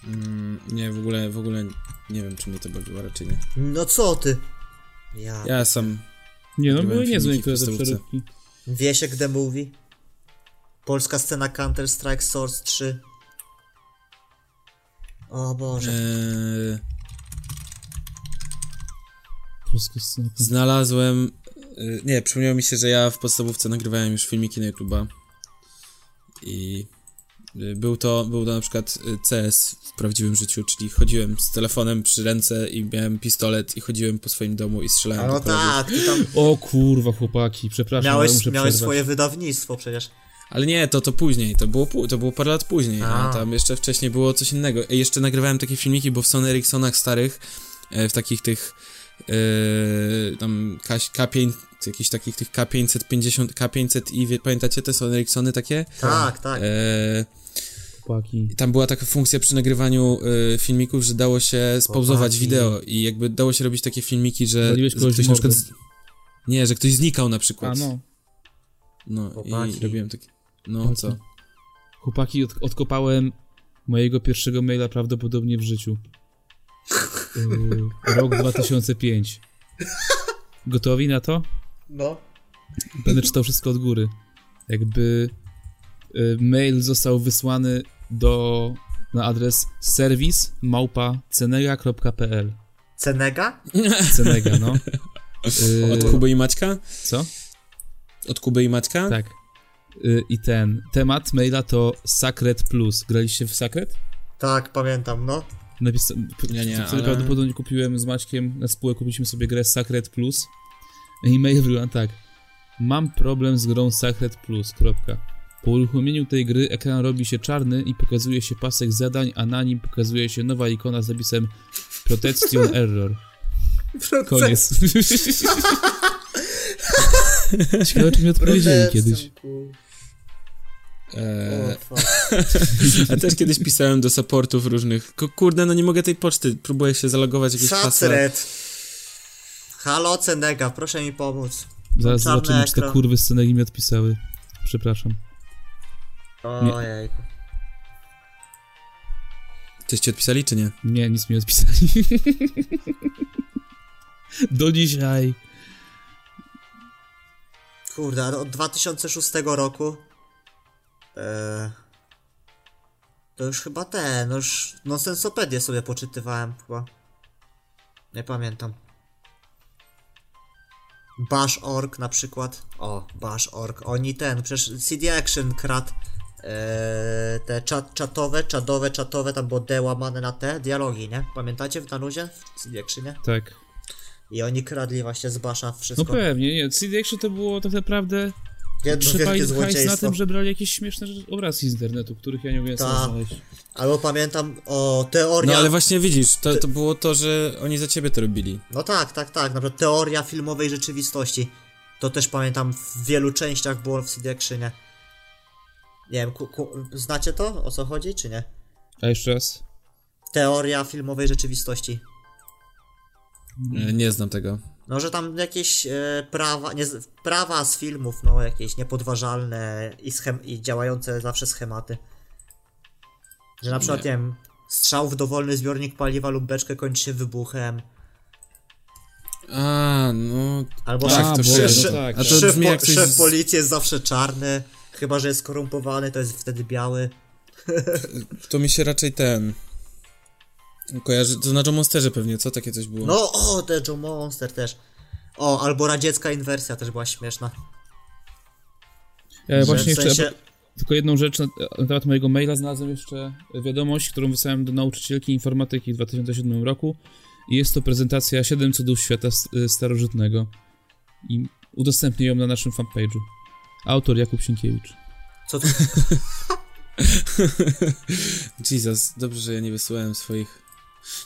Speaker 3: Mm, nie, w ogóle, w ogóle nie wiem, czy mnie to bawiło, raczej nie.
Speaker 1: No co ty? Ja.
Speaker 3: Ja sam.
Speaker 2: Nie, no
Speaker 3: Nagrywałem
Speaker 2: były niezłe
Speaker 3: filmiki w
Speaker 2: niektóre te
Speaker 3: podstawówce.
Speaker 2: przeróbki.
Speaker 1: Wiesiek The Movie. Polska scena Counter Strike Source 3. O Boże.
Speaker 3: Eee,
Speaker 2: Polskie sceny.
Speaker 3: Znalazłem. y, Nie, przypomniało mi się, że ja w podstawówce nagrywałem już filmiki na YouTube'a. I y, był to, był to na przykład y, CS w prawdziwym życiu, czyli chodziłem z telefonem przy ręce i miałem pistolet i chodziłem po swoim domu i
Speaker 1: A
Speaker 3: strzelałem.
Speaker 1: no
Speaker 3: do kolegów.
Speaker 1: tak, ty tam
Speaker 2: O kurwa, chłopaki, przepraszam, ale
Speaker 1: miałeś,
Speaker 2: muszę
Speaker 1: miałeś
Speaker 2: przerwać. Tak.
Speaker 1: swoje wydawnictwo przecież.
Speaker 3: Ale nie, to to później, to było, pół- to było parę lat później,
Speaker 1: A.
Speaker 3: a tam jeszcze wcześniej było coś innego. Ej, jeszcze nagrywałem takie filmiki, bo w Sony Ericssonach starych, e, w takich tych e, tam K- K5, jakichś takich tych K550, K500 i wie, pamiętacie te Sony Ericssony takie?
Speaker 1: Tak, tak.
Speaker 3: E,
Speaker 2: chłopaki.
Speaker 3: i tam była taka funkcja przy nagrywaniu y, filmików, że dało się spauzować
Speaker 1: Chłopaki.
Speaker 3: wideo i jakby dało się robić takie filmiki, że
Speaker 2: Waliłeś kogoś
Speaker 3: ktoś
Speaker 2: w
Speaker 3: na
Speaker 2: mordę.
Speaker 3: przykład... z- Nie, że ktoś znikał na
Speaker 2: A
Speaker 3: przykład.
Speaker 2: no,
Speaker 3: No
Speaker 1: Chłopaki.
Speaker 3: i robiłem takie... No
Speaker 2: Chłopaki.
Speaker 3: co?
Speaker 2: chłopaki, od, odkopałem mojego pierwszego maila prawdopodobnie w życiu. Yy, rok 2005. Gotowi na to?
Speaker 1: No.
Speaker 2: Będę czytał wszystko od góry. Jakby y, mail został wysłany do na adres serwis małpa cenega.pl
Speaker 1: Cenega?
Speaker 2: Cenega, no. Y,
Speaker 3: Od Kuby i Maćka?
Speaker 2: co?
Speaker 3: Od Kuby i Maćka?
Speaker 2: Tak. Y, I ten temat maila to Sacred Plus. Graliście w Sacred?
Speaker 1: Tak, pamiętam, no.
Speaker 2: Napisa- p-
Speaker 3: Nie, nie,
Speaker 2: wtedy
Speaker 3: ale-
Speaker 2: prawdopodobnie kupiłem z Maćkiem na spółkę, kupiliśmy sobie grę Sacred Plus. I mail wygląda tak. Mam problem z grą Sacred Plus. Kropka. Po uruchomieniu tej gry ekran robi się czarny i pokazuje się pasek zadań, a na nim pokazuje się nowa ikona z napisem Protection Error. Koniec. (laughs) Ciekawe, czy mi odpowiedzieli kiedyś. E,
Speaker 3: Eee,
Speaker 1: O, fuck.
Speaker 3: a też kiedyś pisałem do supportów różnych. Ko- Kurde, no nie mogę tej poczty. Próbuję się zalogować jakieś hasła.
Speaker 1: Sacred. Halo, Cenega, proszę mi pomóc.
Speaker 2: Zaraz
Speaker 1: Czarny
Speaker 2: zobaczymy, czy te
Speaker 1: ekran.
Speaker 2: kurwy z Senegi mi odpisały. Przepraszam.
Speaker 1: Ojej.
Speaker 3: Coś ci odpisali, czy nie?
Speaker 2: Nie, nic mi nie odpisali. (laughs) Do dzisiaj.
Speaker 1: Kurde, ale od 2006 roku. E, to już chyba ten, no już nonsensopedię sobie poczytywałem chyba. Nie pamiętam. Bash.org na przykład. O, Bash.org. Oni ten, przecież CD Action kradł e, te czat, czatowe, czadowe, czatowe, tam było D łamane na T, dialogi, nie? Pamiętacie w Danuzie? W CD Actionie?
Speaker 2: Tak.
Speaker 1: I oni kradli właśnie z Basha
Speaker 2: No
Speaker 1: wszystko.
Speaker 2: pewnie, nie. CD Action to było tak naprawdę
Speaker 1: Jedno
Speaker 2: Przypali
Speaker 1: wielkie
Speaker 2: hajs na
Speaker 1: złodziejstwo. Tak.
Speaker 2: tym, że brali jakieś śmieszne rzeczy- obrazki z internetu, których ja nie umiem
Speaker 1: Ta.
Speaker 2: sam znaleźć.
Speaker 1: Albo pamiętam o teoria.
Speaker 3: No
Speaker 1: No,
Speaker 3: ale właśnie widzisz, to, to było to, że oni za ciebie to robili.
Speaker 1: tak, tak, tak. Na przykład teoria filmowej rzeczywistości. To też pamiętam w wielu częściach było w CD Actionie. Nie wiem, ku, ku, znacie to? O co chodzi, czy nie?
Speaker 2: A jeszcze raz?
Speaker 1: Teoria filmowej rzeczywistości.
Speaker 3: E, Nie znam tego.
Speaker 1: No, że tam jakieś e, prawa, nie, z- prawa z filmów, no jakieś niepodważalne i, schem- i działające zawsze schematy. Że na przykład, nie. wiem, strzał w dowolny zbiornik paliwa lub beczkę kończy się wybuchem.
Speaker 3: A, no...
Speaker 1: Albo
Speaker 2: Tak,
Speaker 1: tak,
Speaker 2: to
Speaker 1: to
Speaker 2: Boże,
Speaker 1: szef,
Speaker 2: no tak.
Speaker 1: A
Speaker 3: A
Speaker 1: to
Speaker 3: to
Speaker 1: szef,
Speaker 3: brzmi
Speaker 1: po-
Speaker 3: jak coś
Speaker 1: szef
Speaker 3: z-
Speaker 1: policji jest zawsze czarny, chyba że jest skorumpowany, to jest wtedy biały.
Speaker 3: To mi się raczej ten... Kojarzy, to na John Monsterze pewnie, co? Takie coś było.
Speaker 1: No, o, The Joe Monster też. O, albo radziecka inwersja też była śmieszna.
Speaker 2: E, właśnie
Speaker 1: Że
Speaker 2: jeszcze tylko jedną rzecz na, na temat mojego maila znalazłem jeszcze wiadomość, którą wysłałem do nauczycielki informatyki w 2007 roku. I jest to prezentacja 7 cudów świata s- y, starożytnego. I udostępnię ją na naszym fanpage'u. Autor Jakub Sienkiewicz.
Speaker 1: Co tu?
Speaker 3: Jesus, dobrze, że ja nie wysyłałem swoich...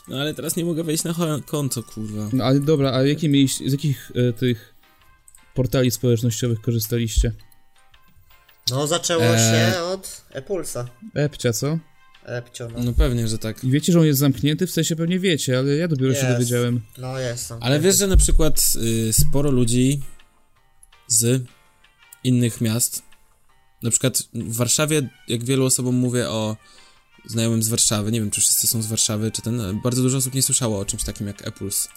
Speaker 3: No ale teraz nie mogę wejść na cho- konto, kurwa.
Speaker 2: No ale dobra, a jakie mieliście, z jakich e, tych portali społecznościowych korzystaliście?
Speaker 1: No, zaczęło
Speaker 3: Eee.
Speaker 1: się od Epulsa.
Speaker 2: Epcia, co?
Speaker 1: Epcio, no.
Speaker 3: No pewnie, że tak.
Speaker 2: I wiecie, że on jest zamknięty? W sensie pewnie wiecie, ale ja dopiero się
Speaker 1: Jest.
Speaker 2: dowiedziałem.
Speaker 1: No, jestem.
Speaker 3: Ale wiesz, że na przykład y, sporo ludzi z innych miast, na przykład w Warszawie, jak wielu osobom mówię o znajomym z Warszawy, nie wiem, czy wszyscy są z Warszawy, czy ten, ale bardzo dużo osób nie słyszało o czymś takim jak Epuls.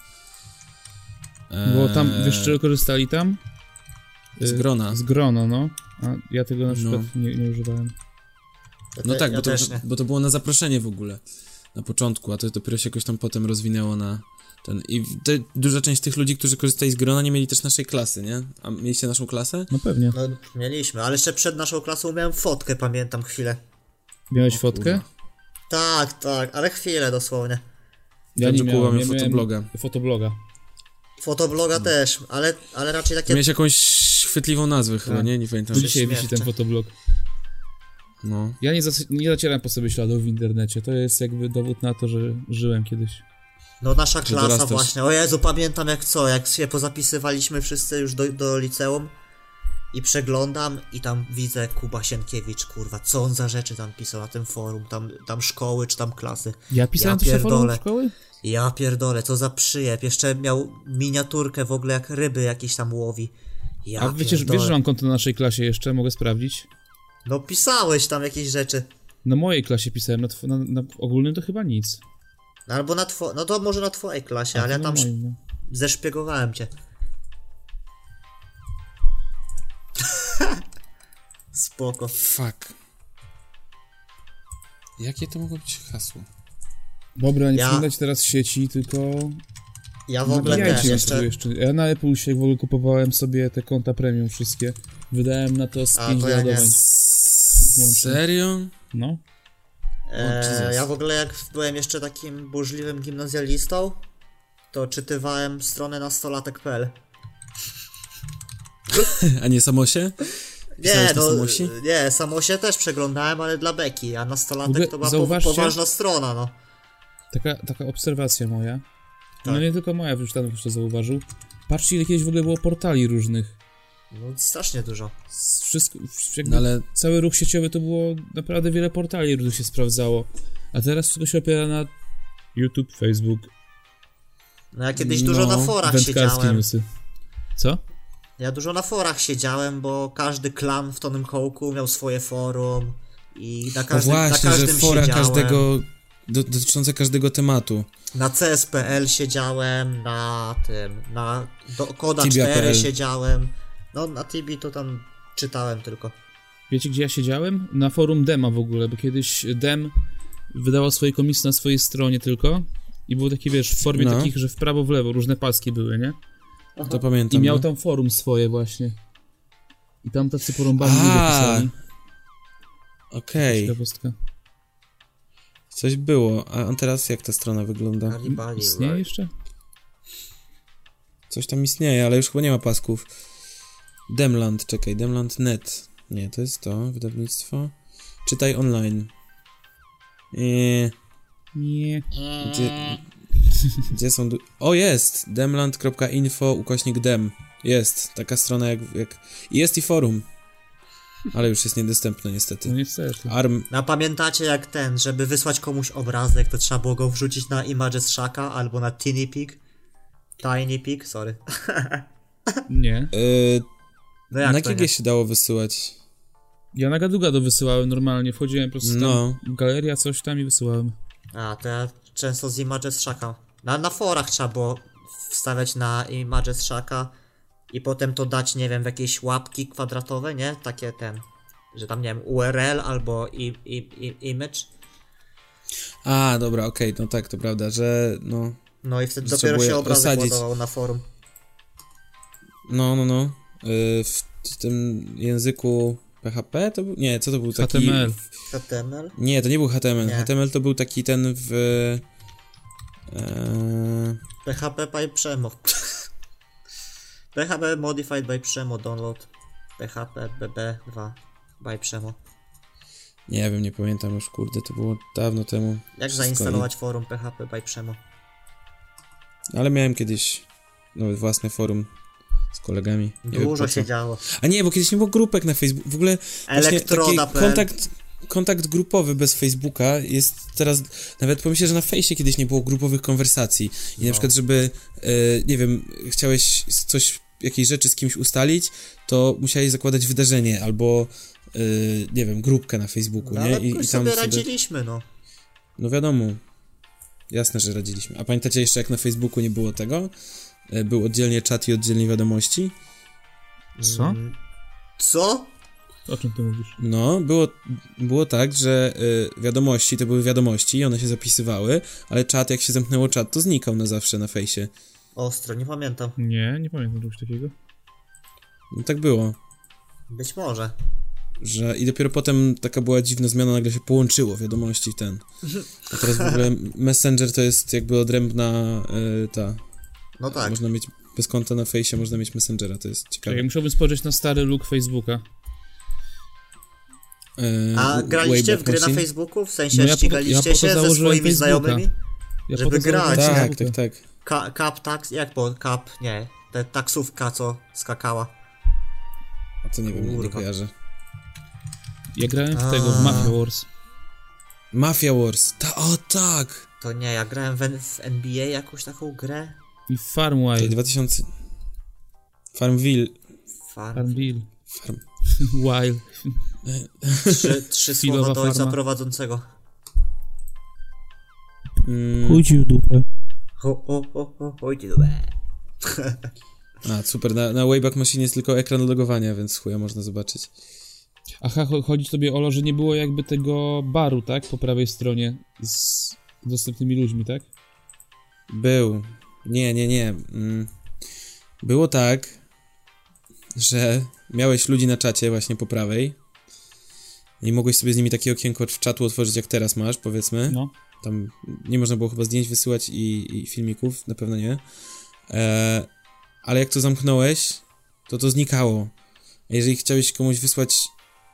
Speaker 2: Bo tam,
Speaker 3: Eee,
Speaker 2: wiesz czego korzystali tam?
Speaker 3: Z grona.
Speaker 2: Z grono, no. A ja tego na przykład nie, nie używałem.
Speaker 1: Ja
Speaker 3: No
Speaker 1: te-
Speaker 3: tak,
Speaker 1: ja
Speaker 3: bo, to,
Speaker 1: też nie.
Speaker 3: bo to było na zaproszenie w ogóle na początku, a to dopiero się jakoś tam potem rozwinęło na ten. I te, duża część tych ludzi, którzy korzystali z grona, nie mieli też naszej klasy, nie? A mieliście naszą klasę?
Speaker 2: No pewnie.
Speaker 1: No, mieliśmy, ale jeszcze przed naszą klasą miałem fotkę, pamiętam chwilę.
Speaker 2: Miałeś fotkę?
Speaker 3: kurwa.
Speaker 1: Tak, tak, ale chwilę dosłownie.
Speaker 2: Ja
Speaker 3: Dobrze,
Speaker 2: nie
Speaker 3: Kuba
Speaker 2: miałem,
Speaker 3: miał
Speaker 2: ja miałem
Speaker 3: fotobloga.
Speaker 2: Fotobloga.
Speaker 3: No.
Speaker 1: Fotobloga też, ale, ale raczej takie
Speaker 3: Miałeś jakąś świetliwą nazwę chyba,
Speaker 2: Tak.
Speaker 3: nie? Nie pamiętam.
Speaker 2: Do dzisiaj
Speaker 1: śmierdzę.
Speaker 2: wisi ten fotoblog.
Speaker 3: No.
Speaker 2: Ja nie, zas- nie zacieram po sobie śladów w internecie. To jest jakby dowód na to, że żyłem kiedyś.
Speaker 1: No nasza
Speaker 3: Czy dorastasz?
Speaker 1: klasa właśnie. O Jezu, pamiętam jak co, jak się pozapisywaliśmy wszyscy już do, do liceum i przeglądam i tam widzę Kuba Sienkiewicz, kurwa, co on za rzeczy tam pisał na tym forum, tam, tam szkoły czy tam klasy.
Speaker 2: Ja pisałem
Speaker 1: Ja
Speaker 2: też na forum
Speaker 1: pierdolę.
Speaker 2: szkoły?
Speaker 1: Ja pierdolę, co za przyjeb, jeszcze miał miniaturkę w ogóle jak ryby jakieś tam łowi. Ja
Speaker 2: A wiecie, że-
Speaker 1: pierdolę.
Speaker 2: wiesz, że mam konto na naszej klasie jeszcze? Mogę sprawdzić.
Speaker 1: No pisałeś tam jakieś rzeczy.
Speaker 2: Na mojej klasie pisałem, na, tw- na, na ogólnym to chyba nic.
Speaker 1: No Albo na two... no to może na twojej klasie, ale ja
Speaker 2: A na
Speaker 1: tam sz...
Speaker 2: moim, no.
Speaker 1: zeszpiegowałem cię. (laughs) Spoko.
Speaker 3: Fuck. Jakie to mogło być hasło?
Speaker 2: Dobra, nie
Speaker 1: Ja-
Speaker 2: przeglądać teraz sieci, tylko
Speaker 1: Ja w ogóle
Speaker 2: Nabijajcie
Speaker 1: też
Speaker 2: ją
Speaker 1: jeszcze.
Speaker 2: sobie jeszcze. Ja na Apple się w ogóle kupowałem sobie te konta premium wszystkie. Wydałem na to z
Speaker 1: A,
Speaker 2: 5
Speaker 1: to ja nie.
Speaker 2: doładowań. Łącznie.
Speaker 3: Serio?
Speaker 2: No.
Speaker 1: E,
Speaker 3: Jesus.
Speaker 1: ja w ogóle jak byłem jeszcze takim burzliwym gimnazjalistą, to czytywałem stronę nastolatek.pl.
Speaker 3: A nie samosie?
Speaker 1: Nie,
Speaker 3: Pisałeś na
Speaker 1: no,
Speaker 3: Samosi?
Speaker 1: nie, samo się też przeglądałem, ale dla Beki, a
Speaker 2: W ogóle
Speaker 1: nastolatek to była po,
Speaker 2: zauważcie-
Speaker 1: poważna strona, no.
Speaker 2: Taka, taka obserwacja moja. No
Speaker 1: Tak.
Speaker 2: nie tylko moja, już tam jeszcze zauważył. Patrzcie, ile kiedyś w ogóle było portali różnych.
Speaker 1: no strasznie dużo.
Speaker 2: Z Wszystko, w- jakby
Speaker 3: No ale
Speaker 2: Cały ruch sieciowy to było naprawdę wiele portali różnych się sprawdzało. A teraz wszystko się opiera na YouTube, Facebook,
Speaker 1: No ja kiedyś dużo
Speaker 3: No,
Speaker 1: na forach
Speaker 2: wędkarskie
Speaker 1: siedziałem.
Speaker 2: newsy. Co?
Speaker 1: Ja dużo na forach siedziałem, bo każdy klan w Tonym Hołku miał swoje forum i na
Speaker 3: no
Speaker 1: każdym,
Speaker 3: właśnie,
Speaker 1: na
Speaker 3: że
Speaker 1: każdym
Speaker 3: fora
Speaker 1: siedziałem.
Speaker 3: każdego do, dotyczące każdego tematu.
Speaker 1: Na CSPL siedziałem, na tym, na do Koda
Speaker 3: Tibia.pl.
Speaker 1: 4 siedziałem. No na Tibi to tam czytałem tylko.
Speaker 2: Wiecie, gdzie ja siedziałem? Na forum Dema w ogóle, bo kiedyś Dem wydawał swoje komiksy na swojej stronie tylko i było takie, wiesz, w formie
Speaker 3: No.
Speaker 2: takich, że w prawo, w lewo, różne paski były, nie?
Speaker 3: To
Speaker 2: I
Speaker 3: pamiętam.
Speaker 2: miał
Speaker 3: no.
Speaker 2: tam forum swoje właśnie. I tam tacy porąbani
Speaker 3: A,
Speaker 2: ludzie pisali.
Speaker 3: Okej,
Speaker 2: Ciekawostka.
Speaker 3: coś było. A a teraz jak ta strona wygląda?
Speaker 1: Alibali.
Speaker 2: Istnieje
Speaker 1: right.
Speaker 2: jeszcze?
Speaker 3: Coś tam istnieje, ale już chyba nie ma pasków. Demland, czekaj, Demland Net. Nie, to jest to, wydawnictwo. Czytaj online. Eee,
Speaker 2: Nie.
Speaker 3: gdzie, gdzie są... Du- o, jest! demland.info ukośnik dem. Jest, taka strona jak, jak... i Jest i forum. Ale już jest niedostępne
Speaker 2: No
Speaker 3: niestety.
Speaker 2: niestety.
Speaker 3: Arm...
Speaker 1: No, A pamiętacie jak ten, żeby wysłać komuś obrazek, to trzeba było go wrzucić na Images Shaka albo na Tiny Pig. Tiny Pig, sorry. (laughs)
Speaker 2: Nie.
Speaker 3: Eee,
Speaker 1: No jak
Speaker 3: na
Speaker 1: to
Speaker 3: GG
Speaker 1: nie?
Speaker 3: się dało wysyłać.
Speaker 2: Ja na gadugado wysyłałem normalnie, wchodziłem po prostu
Speaker 3: No.
Speaker 2: tam, galeria, coś tam i wysyłałem.
Speaker 1: A, to ja często z Images Shaka. Na, na forach trzeba było wstawiać na Images Shaka i potem to dać, nie wiem, w jakieś łapki kwadratowe, nie? Takie ten, że tam, nie wiem, URL albo i, i, i, image.
Speaker 3: A, dobra, okej, no tak, to prawda, że no...
Speaker 1: No i wtedy
Speaker 3: Że
Speaker 1: dopiero
Speaker 3: trzeba
Speaker 1: się
Speaker 3: było
Speaker 1: obrazek
Speaker 3: osadzić.
Speaker 1: ładował na forum.
Speaker 3: No, no, no. Y, W t- tym języku PHP to był... Nie, co to był taki...
Speaker 2: HTML.
Speaker 1: HTML?
Speaker 3: Nie, to nie był HTML.
Speaker 1: Nie.
Speaker 3: HTML to był taki ten w... e,
Speaker 1: PHP by Przemo. (laughs) PHP modified by Przemo download. PHP BB2 by Przemo.
Speaker 3: Nie wiem, nie pamiętam już, kurde, to było dawno temu.
Speaker 1: Jak
Speaker 3: Wszystko
Speaker 1: zainstalować forum PHP by Przemo?
Speaker 3: i- Ale miałem kiedyś nawet własne forum z kolegami. Nie wiem, po
Speaker 1: Dużo
Speaker 3: co.
Speaker 1: się działo.
Speaker 3: A nie, bo kiedyś nie było grupek na Facebooku. W ogóle właśnie taki
Speaker 1: Elektroda.pl.
Speaker 3: kontakt, kontakt grupowy bez Facebooka jest teraz. Nawet pomyślę, że na fejsie kiedyś nie było grupowych konwersacji. I
Speaker 1: No.
Speaker 3: na przykład, żeby, e, nie wiem, chciałeś z- coś, jakieś rzeczy z kimś ustalić, to musiałeś zakładać wydarzenie albo, e, nie wiem, grupkę na Facebooku,
Speaker 1: No,
Speaker 3: nie?
Speaker 1: ale jakoś sobie radziliśmy, no.
Speaker 3: No wiadomo. Jasne, że radziliśmy. A pamiętacie jeszcze, jak na Facebooku nie było tego? E, Był oddzielnie czat i oddzielnie wiadomości.
Speaker 2: Co?
Speaker 1: Mm. Co?
Speaker 2: O czym ty mówisz?
Speaker 3: No, było, było tak, że y, wiadomości to były wiadomości i one się zapisywały, ale czat, jak się zamknęło czat, to znikał na zawsze na fejsie.
Speaker 1: Ostro, nie pamiętam.
Speaker 2: Nie, nie pamiętam czegoś takiego.
Speaker 3: Tak. No, tak było,
Speaker 1: Być może.
Speaker 3: że i dopiero potem taka była dziwna zmiana, nagle się połączyło wiadomości i ten. A teraz w ogóle Messenger to jest jakby odrębna y, ta,
Speaker 1: No tak.
Speaker 3: można mieć bez konta na fejsie, można mieć Messengera, to jest ciekawe.
Speaker 2: Czekaj, musiałbym spojrzeć na stary look Facebooka.
Speaker 3: Y,
Speaker 1: A
Speaker 3: w-
Speaker 1: graliście
Speaker 3: Wayback
Speaker 1: w gry na
Speaker 3: Machine?
Speaker 1: Facebooku? W sensie
Speaker 2: No ja po- ja po
Speaker 1: ścigaliście
Speaker 2: to
Speaker 1: się ze
Speaker 2: założyłem
Speaker 1: swoimi
Speaker 2: Facebooka.
Speaker 1: znajomymi?
Speaker 2: Ja
Speaker 1: Żeby
Speaker 2: potem
Speaker 1: grać.
Speaker 2: zobaczyłem
Speaker 3: Tak,
Speaker 2: Facebooka.
Speaker 3: tak, tak.
Speaker 1: Ka- Kap, tak? Jak było? Kap, nie. Te taksówka, co skakała.
Speaker 3: A to nie wiem, nie
Speaker 1: Kurwa.
Speaker 3: kojarzę. tak.
Speaker 2: Ja grałem w tego, w Mafia Wars.
Speaker 3: Mafia Wars, ta, o tak!
Speaker 1: To nie, ja grałem w, N- w NBA jakąś taką grę.
Speaker 2: I w Farmwire.
Speaker 3: 2000... Farmville,
Speaker 1: Farm.
Speaker 2: Farmville.
Speaker 3: Farm...
Speaker 2: (laughs) Wild.
Speaker 1: Trzy,
Speaker 2: (laughs)
Speaker 1: trzy słowa
Speaker 2: Chwilowa
Speaker 1: do ojca
Speaker 2: farma.
Speaker 1: prowadzącego.
Speaker 3: Mm,
Speaker 2: w dupę.
Speaker 1: Ho, ho, ho, ho, ojciec. Łe.
Speaker 3: a, super, na, na Wayback Machine jest tylko ekran logowania, więc chuja można zobaczyć.
Speaker 2: Aha, cho- chodzi tobie Olo, że nie było jakby tego baru, tak? Po prawej stronie z dostępnymi ludźmi, tak?
Speaker 3: Był. Nie, nie, nie. Mm. Było tak, że miałeś ludzi na czacie właśnie po prawej i mogłeś sobie z nimi takie okienko w czatu otworzyć, jak teraz masz, powiedzmy.
Speaker 2: No.
Speaker 3: Tam nie można było chyba zdjęć wysyłać i, i filmików, na pewno nie. E, ale jak to zamknąłeś, to to znikało. A jeżeli chciałeś komuś wysłać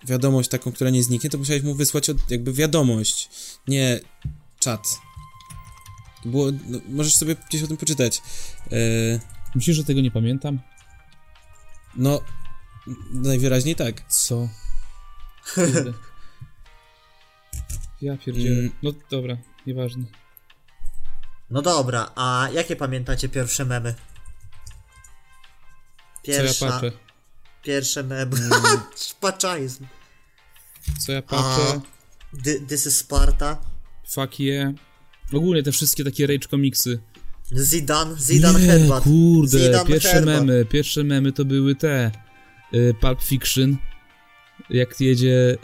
Speaker 3: wiadomość taką, która nie zniknie, to musiałeś mu wysłać od, jakby wiadomość, nie czat. To było, no, możesz sobie gdzieś o tym poczytać. E,
Speaker 2: Myślisz, że tego nie pamiętam?
Speaker 3: no, najwyraźniej tak.
Speaker 2: Co? Kurde. Ja pierdzielę.
Speaker 3: Mm.
Speaker 2: No dobra, nieważne.
Speaker 1: No dobra, a jakie pamiętacie pierwsze memy?
Speaker 2: Co ja
Speaker 1: Pierwsza,
Speaker 2: patrzę?
Speaker 1: pierwsze memy. (laughs) Paczaizm.
Speaker 2: Co ja patrzę?
Speaker 1: Dy- This is Sparta.
Speaker 2: Fuck yeah. Ogólnie te wszystkie takie rage komiksy.
Speaker 1: Zidane, Zidane
Speaker 2: Nie,
Speaker 1: Headbutt.
Speaker 2: Kurde,
Speaker 1: Zidane
Speaker 2: pierwsze
Speaker 1: Headbutt.
Speaker 2: memy, pierwsze memy to były te y, Pulp Fiction. Jak jedzie.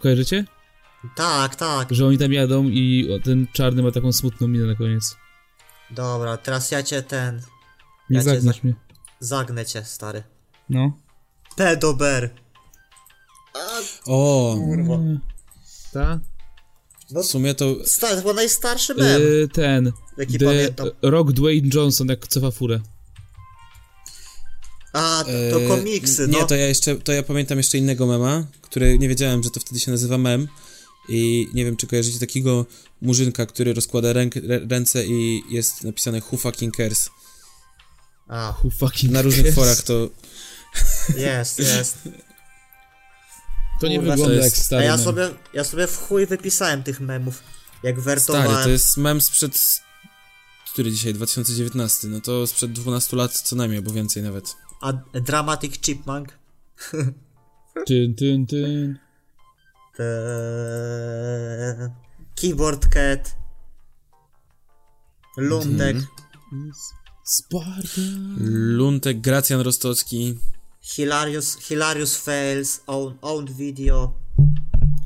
Speaker 2: Kojarzycie?
Speaker 1: Tak, tak.
Speaker 2: Że oni tam jadą i o, ten czarny ma taką smutną minę na koniec.
Speaker 1: Dobra, teraz ja cię ten.
Speaker 2: Nie
Speaker 1: Ja cię
Speaker 2: zagniesz
Speaker 1: za-
Speaker 2: mnie.
Speaker 1: Zagnę cię, stary.
Speaker 2: No.
Speaker 1: Pedober.
Speaker 3: O,
Speaker 1: Kurwa.
Speaker 2: Ta?
Speaker 3: w sumie to...
Speaker 1: Stary, to był najstarszy mem,
Speaker 2: Y, ten.
Speaker 1: jaki
Speaker 2: The
Speaker 1: pamiętam.
Speaker 2: Rock Dwayne Johnson, jak cofa furę.
Speaker 1: A, to, to
Speaker 3: e,
Speaker 1: komiksy, no.
Speaker 3: Nie, to ja jeszcze, to ja pamiętam jeszcze innego mema, który nie wiedziałem, że to wtedy się nazywa mem i nie wiem, czy kojarzycie takiego murzynka, który rozkłada ręk, rę- ręce i jest napisane who fucking cares.
Speaker 1: A,
Speaker 2: Who fucking
Speaker 3: Na
Speaker 2: cares?
Speaker 3: różnych forach to...
Speaker 1: jest, jest.
Speaker 2: To nie
Speaker 1: Kurwa,
Speaker 2: wygląda
Speaker 3: to
Speaker 2: jak
Speaker 3: jest-
Speaker 1: A
Speaker 2: stary
Speaker 1: ja
Speaker 2: mem.
Speaker 1: sobie, ja sobie w chuj wypisałem tych memów. Jak wertowałem.
Speaker 3: Stary, tak, to jest mem sprzed... Który dzisiaj? 2019. No to sprzed 12 lat co najmniej, albo więcej nawet.
Speaker 1: A Dramatic Chipmunk.
Speaker 2: Tyn, tyn, tyn.
Speaker 1: Eee, Keyboard Cat. Lundek.
Speaker 3: Mhm.
Speaker 2: Sparta.
Speaker 1: Mm.
Speaker 3: Luntek, Gracjan Rostocki.
Speaker 1: Hilarius, Hilarius Fails. Own, own Video.
Speaker 3: Mhm.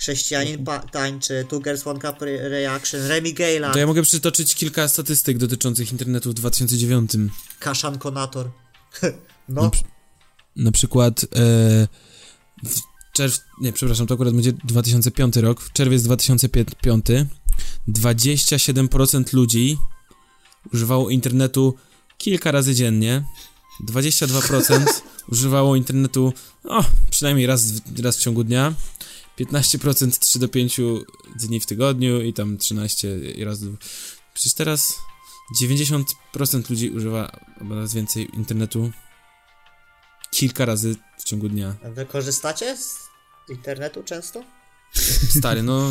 Speaker 1: Chrześcijanin pa- tańczy. Two Girls One Cup re- Reaction. Remy Gayla.
Speaker 3: To ja mogę przytoczyć kilka statystyk dotyczących internetu w 2009.
Speaker 1: Kaszan Konator. (laughs) No,
Speaker 3: Na przykład e, w czerw... Nie, przepraszam, to akurat będzie 2005 rok. W czerwiec 2005 27% ludzi używało internetu kilka razy dziennie. 22% używało internetu o, przynajmniej raz, w- raz w ciągu dnia. 15% 3 do 5 dni w tygodniu i tam 13 i raz do... Przecież teraz 90% ludzi używa albo nawet więcej internetu kilka razy w ciągu dnia.
Speaker 1: wy korzystacie z internetu często?
Speaker 3: Stary, no.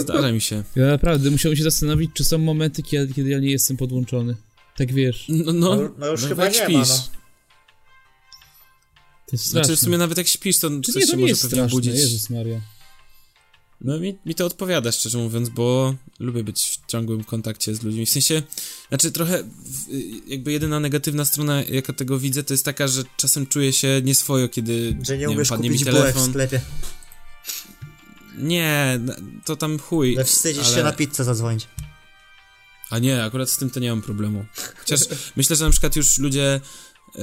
Speaker 3: Zdarza mi się.
Speaker 2: Ja naprawdę musiałem się zastanowić, czy są momenty, kiedy, kiedy ja nie jestem podłączony. Tak wiesz.
Speaker 3: No, no,
Speaker 1: No, no już chyba
Speaker 3: jak
Speaker 1: nie ma,
Speaker 3: śpisz.
Speaker 1: no.
Speaker 2: To jest straszne.
Speaker 3: Znaczy, w sumie nawet jak śpisz, to
Speaker 2: Czy
Speaker 3: coś
Speaker 2: nie, to
Speaker 3: się
Speaker 2: nie
Speaker 3: może
Speaker 2: jest
Speaker 3: pewnie
Speaker 2: straszne,
Speaker 3: budzić.
Speaker 2: Jezus Maria.
Speaker 3: No mi, mi to odpowiada, szczerze mówiąc, bo lubię być w ciągłym kontakcie z ludźmi. W sensie, znaczy trochę w- jakby jedyna negatywna strona, jaka tego widzę, to jest taka, że czasem czuję się nieswojo, kiedy
Speaker 1: Że nie,
Speaker 3: nie wiem,
Speaker 1: umiesz
Speaker 3: padnie mi
Speaker 1: kupić bułek w
Speaker 3: telefon.
Speaker 1: sklepie.
Speaker 3: Nie, na- to tam chuj.
Speaker 1: Że wstydzisz
Speaker 3: ale-
Speaker 1: się na pizzę zadzwonić.
Speaker 3: A nie, akurat z tym to nie mam problemu. Chociaż myślę, że na przykład już ludzie e,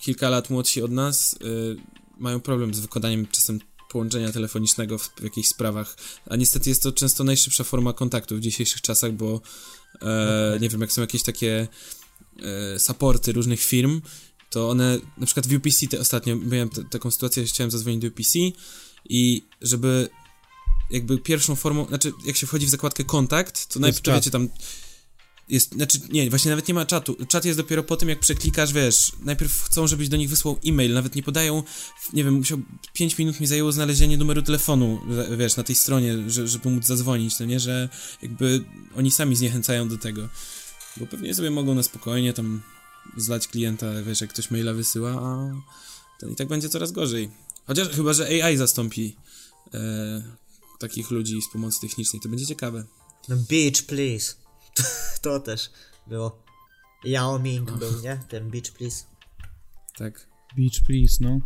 Speaker 3: kilka lat młodsi od nas e, mają problem z wykonaniem czasem połączenia telefonicznego w, w jakichś sprawach, a niestety jest to często najszybsza forma kontaktu w dzisiejszych czasach, bo e, nie wiem, jak są jakieś takie e, supporty różnych firm, to one, na przykład w UPC te ostatnio miałem t- taką sytuację, że chciałem zadzwonić do UPC i żeby jakby pierwszą formą, znaczy jak się wchodzi w zakładkę kontakt, to najpierw
Speaker 2: czat.
Speaker 3: wiecie tam jest, znaczy nie, właśnie nawet nie ma czatu. Czat jest dopiero po tym, jak przeklikasz, wiesz, najpierw chcą, żebyś do nich wysłał e-mail, nawet nie podają, nie wiem, musiał, 5 minut mi zajęło znalezienie numeru telefonu, że- wiesz, na tej stronie, że, żeby móc zadzwonić, no nie, że jakby oni sami zniechęcają do tego. Bo pewnie sobie mogą na spokojnie tam zlać klienta, wiesz, jak ktoś maila wysyła, a ten i tak będzie coraz gorzej. Chociaż chyba, że AI zastąpi e, takich ludzi z pomocy technicznej, to będzie ciekawe.
Speaker 1: No beach, please. (laughs) To, to też było. Yao Ming był, nie? Ten beach, please.
Speaker 3: Tak.
Speaker 2: Beach, please, no.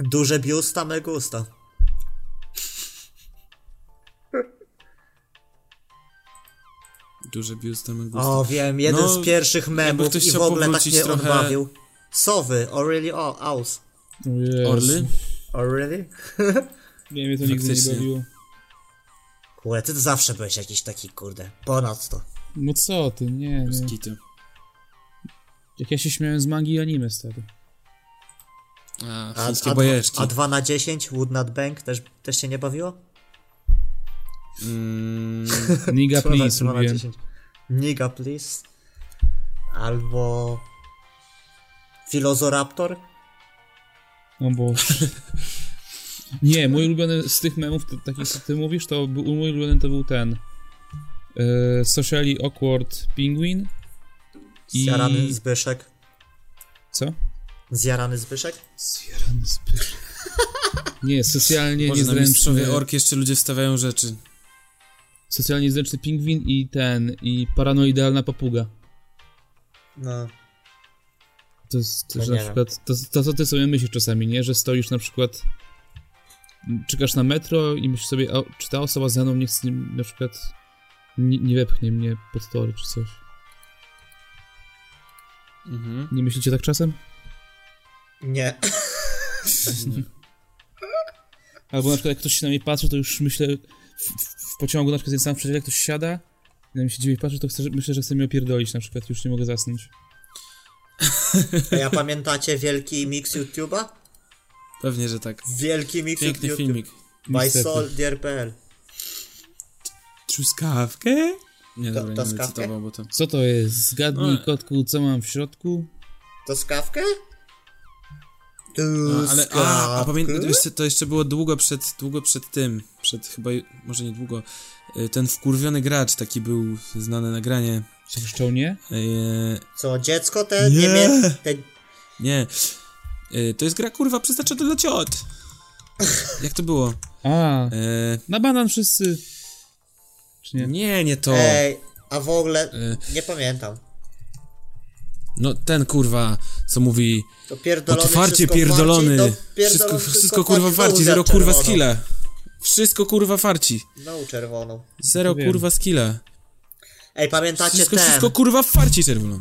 Speaker 1: Duże biusta, me gusta.
Speaker 3: Duże biust tam
Speaker 1: O, wiem, jeden
Speaker 3: No,
Speaker 1: z pierwszych memów
Speaker 3: ktoś
Speaker 1: i w
Speaker 3: chciał
Speaker 1: ogóle tak
Speaker 3: powrócić
Speaker 1: mnie
Speaker 3: trochę-
Speaker 1: odbawił. Sowy, or really o- aus.
Speaker 2: O Jezu.
Speaker 3: Orly?
Speaker 1: Or really?
Speaker 2: Nie, mnie to nigdy nie
Speaker 3: Faktycznie.
Speaker 2: bawiło.
Speaker 1: Kurde, ty to zawsze byłeś jakiś taki, kurde, ponad to.
Speaker 2: No co ty, nie,
Speaker 1: Mm.
Speaker 2: nie.
Speaker 3: Skity.
Speaker 2: Jak ja się śmiałem z mangi i anime,
Speaker 3: (laughs)
Speaker 2: stary.
Speaker 3: A,
Speaker 1: A,
Speaker 3: chińskie
Speaker 1: a,
Speaker 3: bajeczki.
Speaker 1: dwa- a 2 na 10, Wood Not Bank, też, też się nie bawiło?
Speaker 3: Mm,
Speaker 2: Niga,
Speaker 1: Dwa na-
Speaker 2: please,
Speaker 1: dwa na
Speaker 2: lubiłem.
Speaker 1: 10. Niga, please. Albo... Filozoraptor?
Speaker 2: O Boże.
Speaker 3: (laughs)
Speaker 2: Nie, mój ulubiony z tych memów, to, takich co ty mówisz, to był, mój ulubiony to był ten. E, socially Awkward Penguin. I-
Speaker 1: Zjarany Zbyszek.
Speaker 2: Co?
Speaker 1: Zjarany Zbyszek?
Speaker 2: Zjarany Zbyszek. (laughs) Nie, socjalnie
Speaker 3: może na
Speaker 2: niezręczny.
Speaker 3: mistrzowie ork jeszcze ludzie wstawiają rzeczy.
Speaker 2: socjalnie niezręczny pingwin i ten, i paranoidalna papuga.
Speaker 1: No.
Speaker 2: To jest,
Speaker 1: No
Speaker 2: że
Speaker 1: nie
Speaker 2: na
Speaker 1: wiem.
Speaker 2: przykład, to, to co ty sobie myślisz czasami, nie? Że stoisz na przykład, m, czekasz na metro i myślisz sobie, o, czy ta osoba za mną nie chce, na przykład, nie, nie wepchnie mnie pod tory czy coś.
Speaker 3: Mhm.
Speaker 2: Nie myślicie tak czasem?
Speaker 1: Nie.
Speaker 2: Albo na przykład jak ktoś się na mnie patrzy, to już myślę, w, w- w pociągu na przykład jest sam w przedziale, ktoś siada, na mnie się dziwnie patrzy, to chcę, że- myślę, że chce mnie opierdolić na przykład, już nie mogę zasnąć.
Speaker 1: (laughs) A ja pamiętacie wielki mix YouTube'a?
Speaker 3: Pewnie, że tak.
Speaker 1: Wielki mix
Speaker 3: Piękny
Speaker 1: YouTube.
Speaker 3: filmik.
Speaker 1: By
Speaker 2: Niestety.
Speaker 1: soldier.pl
Speaker 3: Truskawkę? Nie,
Speaker 1: To-
Speaker 3: dobra,
Speaker 1: to
Speaker 3: nie będę
Speaker 1: skawkę?
Speaker 3: cytował, bo to...
Speaker 2: Co to jest? Zgadnij,
Speaker 3: No.
Speaker 2: kotku, co mam w środku?
Speaker 1: To skawkę? Tu
Speaker 3: No, ale, a, a
Speaker 1: skawkę?
Speaker 3: pamiętam, to jeszcze było długo przed, długo przed tym, przed chyba, może nie długo, y, ten wkurwiony gracz, taki był znane nagranie.
Speaker 2: Zresztą nie?
Speaker 3: y,
Speaker 1: Co, dziecko te
Speaker 3: Nie.
Speaker 1: niemie... Te...
Speaker 3: Nie. Y, To jest gra kurwa przeznaczona dla ciot. Jak to było?
Speaker 2: A,
Speaker 3: Y,
Speaker 2: na banan wszyscy. Czy nie?
Speaker 3: Nie, nie to.
Speaker 1: Ej, a w ogóle...
Speaker 3: Y.
Speaker 1: Nie pamiętam.
Speaker 3: No ten kurwa, co mówi.
Speaker 1: To pierdolony,
Speaker 3: Otwarcie
Speaker 1: wszystko no,
Speaker 3: pierdolony.
Speaker 1: farci, to pierdolon-
Speaker 3: Wszystko, wszystko kurwa
Speaker 1: farci,
Speaker 3: farci,
Speaker 1: za
Speaker 3: zero kurwa
Speaker 1: czerwoną.
Speaker 3: skilla. Wszystko kurwa farci.
Speaker 1: No czerwoną.
Speaker 3: Zero
Speaker 2: Wiem.
Speaker 3: kurwa skilla.
Speaker 1: Ej, pamiętacie
Speaker 3: Wszystko,
Speaker 1: ten...
Speaker 3: wszystko kurwa farci czerwony.
Speaker 1: Ej,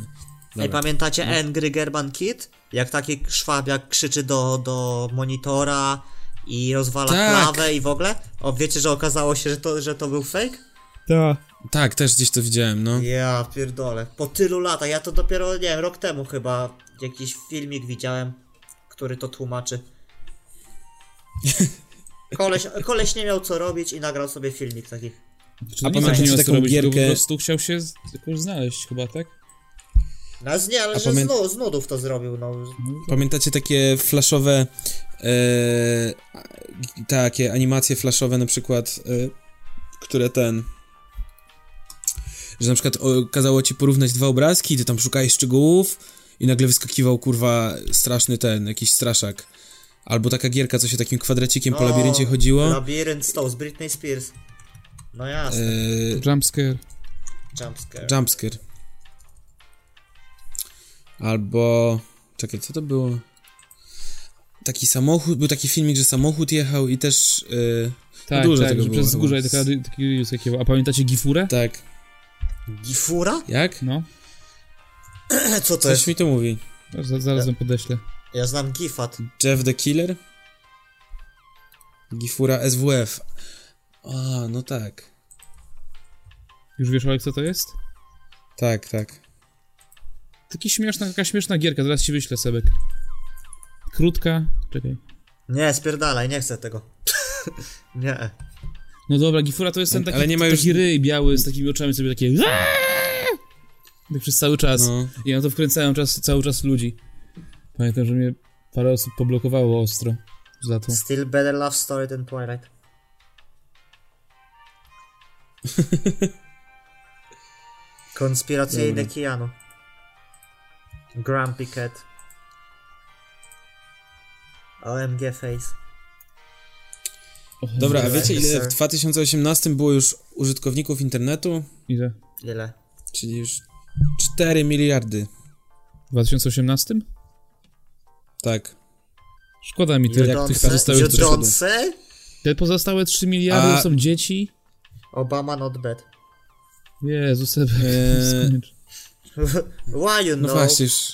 Speaker 3: Dobra. No.
Speaker 1: pamiętacie Angry German Kid? Jak taki szwabiak krzyczy do, do monitora i rozwala
Speaker 3: Tak.
Speaker 1: klawę i w ogóle? O, wiecie, że okazało się, że to, że to był fake?
Speaker 2: Tak.
Speaker 3: Tak, też gdzieś to widziałem, no.
Speaker 1: Ja pierdolę. Po tylu latach, ja to dopiero, nie wiem, rok temu chyba jakiś filmik widziałem, który to
Speaker 3: (laughs)
Speaker 1: tłumaczy. Koleś, koleś nie miał co robić i nagrał sobie filmik taki.
Speaker 2: Czy to
Speaker 3: A
Speaker 2: nie
Speaker 3: pamiętacie
Speaker 2: miał co
Speaker 3: taką
Speaker 2: robić, tylko
Speaker 3: gierkę-
Speaker 2: Po prostu chciał się z- jakoś znaleźć, chyba, tak?
Speaker 1: Nas nie, No, ale
Speaker 3: A
Speaker 1: że
Speaker 3: pamię-
Speaker 1: z, nu- z nudów to zrobił, no.
Speaker 3: Pamiętacie takie flashowe. E, takie animacje flashowe na przykład, e, które ten. Że na przykład o, kazało ci porównać dwa obrazki, ty tam szukałeś szczegółów i nagle wyskakiwał kurwa straszny ten, jakiś straszak. Albo taka gierka, co się takim kwadracikiem po
Speaker 1: No,
Speaker 3: labiryncie chodziło.
Speaker 1: Labirynt z tą, z Britney Spears. No
Speaker 3: E,
Speaker 1: jasne,
Speaker 2: Jumpscare.
Speaker 1: jumpscare.
Speaker 3: jumpscare. Albo. Czekaj, co to było? Taki samochód, był taki filmik, że samochód jechał i też. e,
Speaker 2: Tak,
Speaker 3: dużo
Speaker 2: tak,
Speaker 3: tego
Speaker 2: że
Speaker 3: było
Speaker 2: przez
Speaker 3: chyba.
Speaker 2: górę taka, taki reels jakiego. A pamiętacie Gifurę?
Speaker 3: tak.
Speaker 1: Gifura? (clears throat)
Speaker 3: Jak?
Speaker 2: No,
Speaker 1: Co to
Speaker 3: Coś
Speaker 1: jest?
Speaker 3: mi to mówi.
Speaker 2: zaraz, zaraz wam podeślę.
Speaker 1: Ja znam Gifat.
Speaker 3: Jeff the Killer? Gifura SWF. A, no tak.
Speaker 2: Już wiesz, Olek, co to jest?
Speaker 3: Tak, tak.
Speaker 2: Taki śmieszna, taka śmieszna gierka, zaraz ci wyślę, Sebek. Krótka, czekaj.
Speaker 1: Nie, spierdalaj, nie chcę tego. (laughs) nie.
Speaker 2: No dobra, Gifura to jest ten taki,
Speaker 3: Ale nie ma już-
Speaker 2: taki ryj biały z takimi oczami sobie takie... Tak przez cały czas.
Speaker 3: No.
Speaker 2: I na to wkręcają czas, cały czas ludzi. Pamiętam, że mnie parę osób poblokowało ostro za to.
Speaker 1: Still better love story than
Speaker 3: (laughs)
Speaker 1: Twilight. Konspiracyjny Keanu. Grumpy Cat. OMG Face.
Speaker 2: Och,
Speaker 3: Dobra, a
Speaker 1: Dobra,
Speaker 3: wiecie ile w
Speaker 1: sir.
Speaker 3: 2018 było już użytkowników internetu?
Speaker 2: Ile?
Speaker 1: Ile?
Speaker 3: Czyli już 4 miliardy.
Speaker 2: W 2018?
Speaker 3: Tak.
Speaker 2: Szkoda mi tyle, jak tych
Speaker 1: Judonce?
Speaker 2: pozostałych...
Speaker 3: Judon-
Speaker 1: Judonce?
Speaker 2: Te pozostałe 3 miliardy
Speaker 3: A-
Speaker 2: są dzieci?
Speaker 1: Obama not bad. (laughs)
Speaker 2: Jezu, Sebek.
Speaker 3: Eee,
Speaker 2: skończ.
Speaker 1: Why you
Speaker 3: No,
Speaker 1: know?
Speaker 3: właśnie. Już.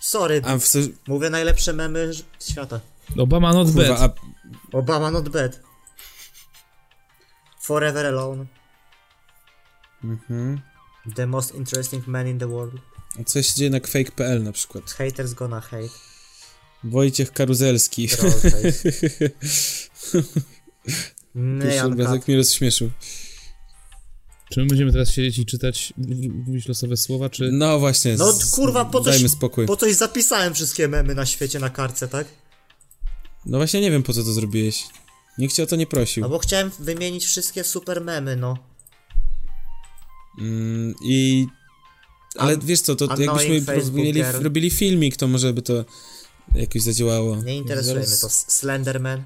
Speaker 1: Sorry,
Speaker 3: A w, se-
Speaker 1: mówię najlepsze memy ż- świata.
Speaker 2: Obama not
Speaker 3: kurwa,
Speaker 2: bad.
Speaker 3: a
Speaker 1: Obama not bad. Forever alone.
Speaker 3: Mhm.
Speaker 1: The most interesting man in the world.
Speaker 3: A Co się dzieje na quake.pl na przykład?
Speaker 1: Haters gonna hate.
Speaker 3: Wojciech Karuzelski.
Speaker 1: Troll hate. Nie,
Speaker 3: (laughs) Pierwszy
Speaker 1: Janka.
Speaker 3: obrazek mnie rozśmieszył.
Speaker 2: Czy my będziemy teraz siedzieć i czytać, w- mówić losowe słowa, czy...
Speaker 3: No właśnie.
Speaker 1: No
Speaker 3: z-
Speaker 1: kurwa, po coś,
Speaker 3: Dajmy spokój.
Speaker 1: po coś zapisałem wszystkie memy na świecie na kartce, tak?
Speaker 3: No właśnie nie wiem po co to zrobiłeś. Nikt cię o to nie prosił.
Speaker 1: No bo chciałem wymienić wszystkie super memy, no.
Speaker 3: Mm, I... Ale wiesz co, to
Speaker 1: annoying
Speaker 3: jakbyśmy
Speaker 1: Facebooker.
Speaker 3: robili, robili filmik, to może by to jakoś zadziałało.
Speaker 1: Nie interesuje mnie
Speaker 3: Zaraz-
Speaker 1: to. S- Slenderman.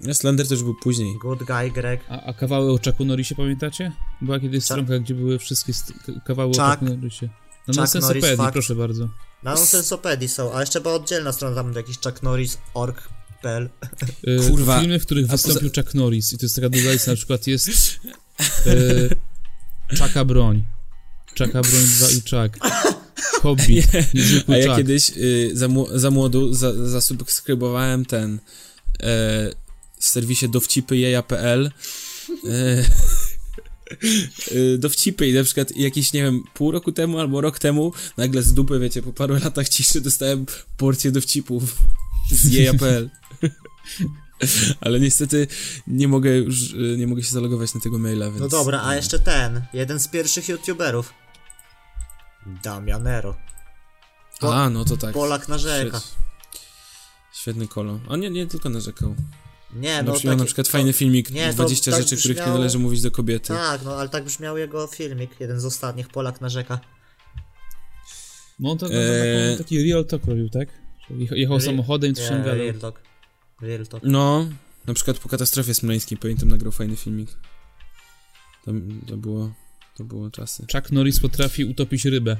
Speaker 3: No, Slender też był później.
Speaker 1: Good Guy Greg.
Speaker 2: A, a kawały o Chucku Norrisie pamiętacie? Była kiedyś stronka, gdzie były wszystkie st- k- kawały
Speaker 1: Chuck.
Speaker 2: o Chucku Norrisie. No na
Speaker 1: Chuck Norris
Speaker 2: sensopedii,
Speaker 1: Fact.
Speaker 2: proszę bardzo.
Speaker 1: Na Nonsensopedii są, a jeszcze była oddzielna strona, tam jakiś Chuck Norris, org.pl.
Speaker 2: E,
Speaker 3: Kurwa.
Speaker 2: Filmy, w których
Speaker 3: poza-
Speaker 2: wystąpił Chuck Norris i to jest taka długa lista, na przykład jest e, Chucka Broń, Chucka Broń 2 i Chuck, Hobbit, Niezwykły
Speaker 3: A ja
Speaker 2: Chuck.
Speaker 3: kiedyś y, za, mu, za młodu za, zasubskrybowałem ten e, w serwisie dowcipyjeja.pl (laughs) e, e, dowcipy i na przykład jakieś, nie wiem, pół roku temu albo rok temu nagle z dupy, wiecie, po paru (laughs) latach ciszy dostałem porcję dowcipów z jeja.pl (laughs) Ale niestety nie mogę już, e, nie mogę się zalogować na tego maila, więc...
Speaker 1: No dobra, a jeszcze ten, jeden z pierwszych youtuberów. Damianero.
Speaker 3: A, no to tak.
Speaker 1: Polak narzeka.
Speaker 3: Świet- Świetny kolo. A nie, nie tylko narzekał.
Speaker 1: Nie,
Speaker 3: No,
Speaker 1: no
Speaker 3: no przyjął
Speaker 1: taki-
Speaker 3: na przykład fajny filmik,
Speaker 1: nie, to
Speaker 3: 20
Speaker 1: tak
Speaker 3: rzeczy, których nie
Speaker 1: brzmiało-
Speaker 3: należy mówić do kobiety.
Speaker 1: Tak, no ale tak brzmiał jego filmik, jeden z ostatnich, Polak narzeka.
Speaker 2: No on to,
Speaker 3: E,
Speaker 2: on taki real talk robił, tak? Czyli Jechał
Speaker 1: Re-
Speaker 2: samochodem i
Speaker 1: Nie,
Speaker 2: coś tam gadał.
Speaker 1: Real Talk. Real Talk.
Speaker 3: No, na przykład po katastrofie smoleńskiej pamiętam nagrał fajny filmik. Tam, to było, to było czasy.
Speaker 2: Chuck Norris potrafi utopić rybę.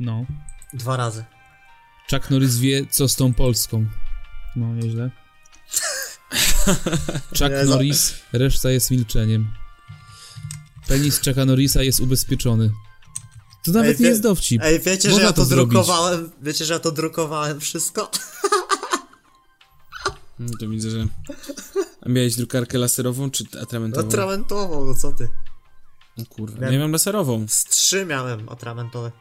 Speaker 2: No.
Speaker 1: Dwa razy.
Speaker 2: Chuck Norris wie, co z tą Polską. No, nieźle. (laughs) Chuck
Speaker 1: Nie, za-
Speaker 2: Norris, reszta jest milczeniem. Penis Chucka Norrisa jest ubezpieczony. To nawet
Speaker 1: Ej,
Speaker 2: nie
Speaker 1: wie-
Speaker 2: jest dowcip.
Speaker 1: Ej, wiecie, że
Speaker 2: Można
Speaker 1: ja to,
Speaker 2: to zrobić.
Speaker 1: drukowałem, wiecie, że ja to drukowałem wszystko?
Speaker 3: No to widzę, że... A miałeś drukarkę laserową czy
Speaker 1: (laughs)
Speaker 3: atramentową?
Speaker 1: Atramentową, no co ty?
Speaker 3: No kurwa, nie mam laserową.
Speaker 1: Z trzy miałem atramentowe.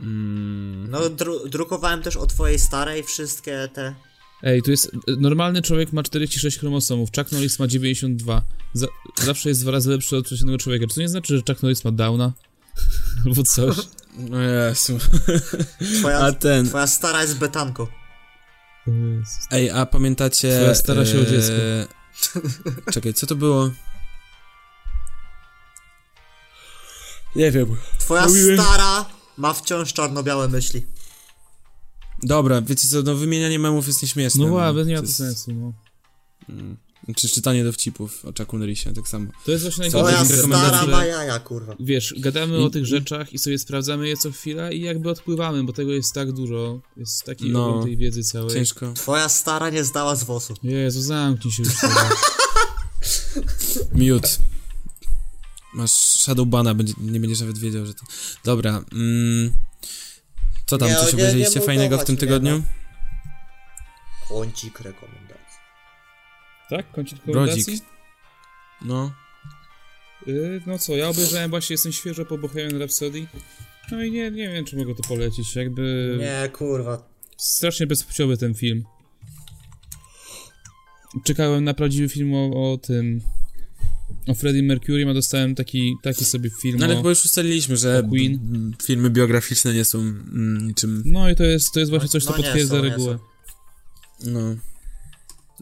Speaker 3: Mm,
Speaker 1: No, dru drukowałem też o twojej starej wszystkie te...
Speaker 2: Ej, tu jest. Normalny człowiek ma 46 chromosomów, Chuck Norris ma 92. Za, zawsze jest dwa razy lepszy od przeciętnego człowieka. Czy to nie znaczy, że Chuck Norris ma downa? (laughs) Albo coś.
Speaker 3: no Jezu. A
Speaker 1: Twoja,
Speaker 3: ten...
Speaker 1: twoja stara jest betanką.
Speaker 3: Ej, a pamiętacie... e,
Speaker 2: Twoja stara się o dziecko.
Speaker 3: (laughs) Czekaj, co to było? Nie wiem.
Speaker 1: Twoja
Speaker 3: Mówiłem. Tak,
Speaker 1: stara ma wciąż czarno-białe myśli.
Speaker 3: Dobra, wiecie co, no wymienianie memów jest nieśmieszne.
Speaker 2: No właśnie, nie ma
Speaker 3: to
Speaker 2: to
Speaker 3: jest-
Speaker 2: sensu. No.
Speaker 3: Czy czytanie dowcipów o Chucku Norrisie, tak samo.
Speaker 2: To jest właśnie
Speaker 3: Co
Speaker 1: Twoja
Speaker 3: jest
Speaker 2: najgorsze.
Speaker 1: stara
Speaker 3: rekomendacja?
Speaker 1: ma jaja, kurwa.
Speaker 2: wiesz, gadamy o
Speaker 3: I-
Speaker 2: tych rzeczach i sobie sprawdzamy je co chwila i jakby odpływamy, bo tego jest tak dużo, jest taki
Speaker 3: No.
Speaker 2: ogrom tej wiedzy całej.
Speaker 3: Ciężko.
Speaker 1: Twoja stara nie zdała z wosu.
Speaker 2: Jezu, zamknij się już. sobie.
Speaker 3: Mute. Masz Shadowbana, będzie, nie będziesz nawet wiedział, że to... Dobra, mm, Co tam,
Speaker 1: Nie,
Speaker 3: coś
Speaker 1: nie, no. nie
Speaker 3: obejrzeliście fajnego w
Speaker 1: mutować
Speaker 3: tym
Speaker 1: mnie,
Speaker 3: tygodniu?
Speaker 1: Kącik rekomendacji.
Speaker 2: (laughs) tak? Kącik
Speaker 3: Brodzik.
Speaker 2: rekomendacji?
Speaker 3: No.
Speaker 2: Yy, no co, ja obejrzałem właśnie, jestem świeżo po Bohemian Rhapsody. No i nie, nie wiem, czy mogę to polecić, jakby
Speaker 1: Nie, kurwa.
Speaker 2: strasznie bezpłciowy ten film. Czekałem na prawdziwy film o, o tym, o Freddie Mercury, a dostałem taki, taki sobie film
Speaker 3: No ale
Speaker 2: o...
Speaker 3: chyba już ustaliliśmy, że
Speaker 2: o Queen.
Speaker 3: b- m, filmy biograficzne nie są mm, niczym...
Speaker 2: No i to jest, to jest właśnie coś, co
Speaker 1: No nie
Speaker 2: potwierdza
Speaker 1: są, nie
Speaker 2: regułę.
Speaker 3: No.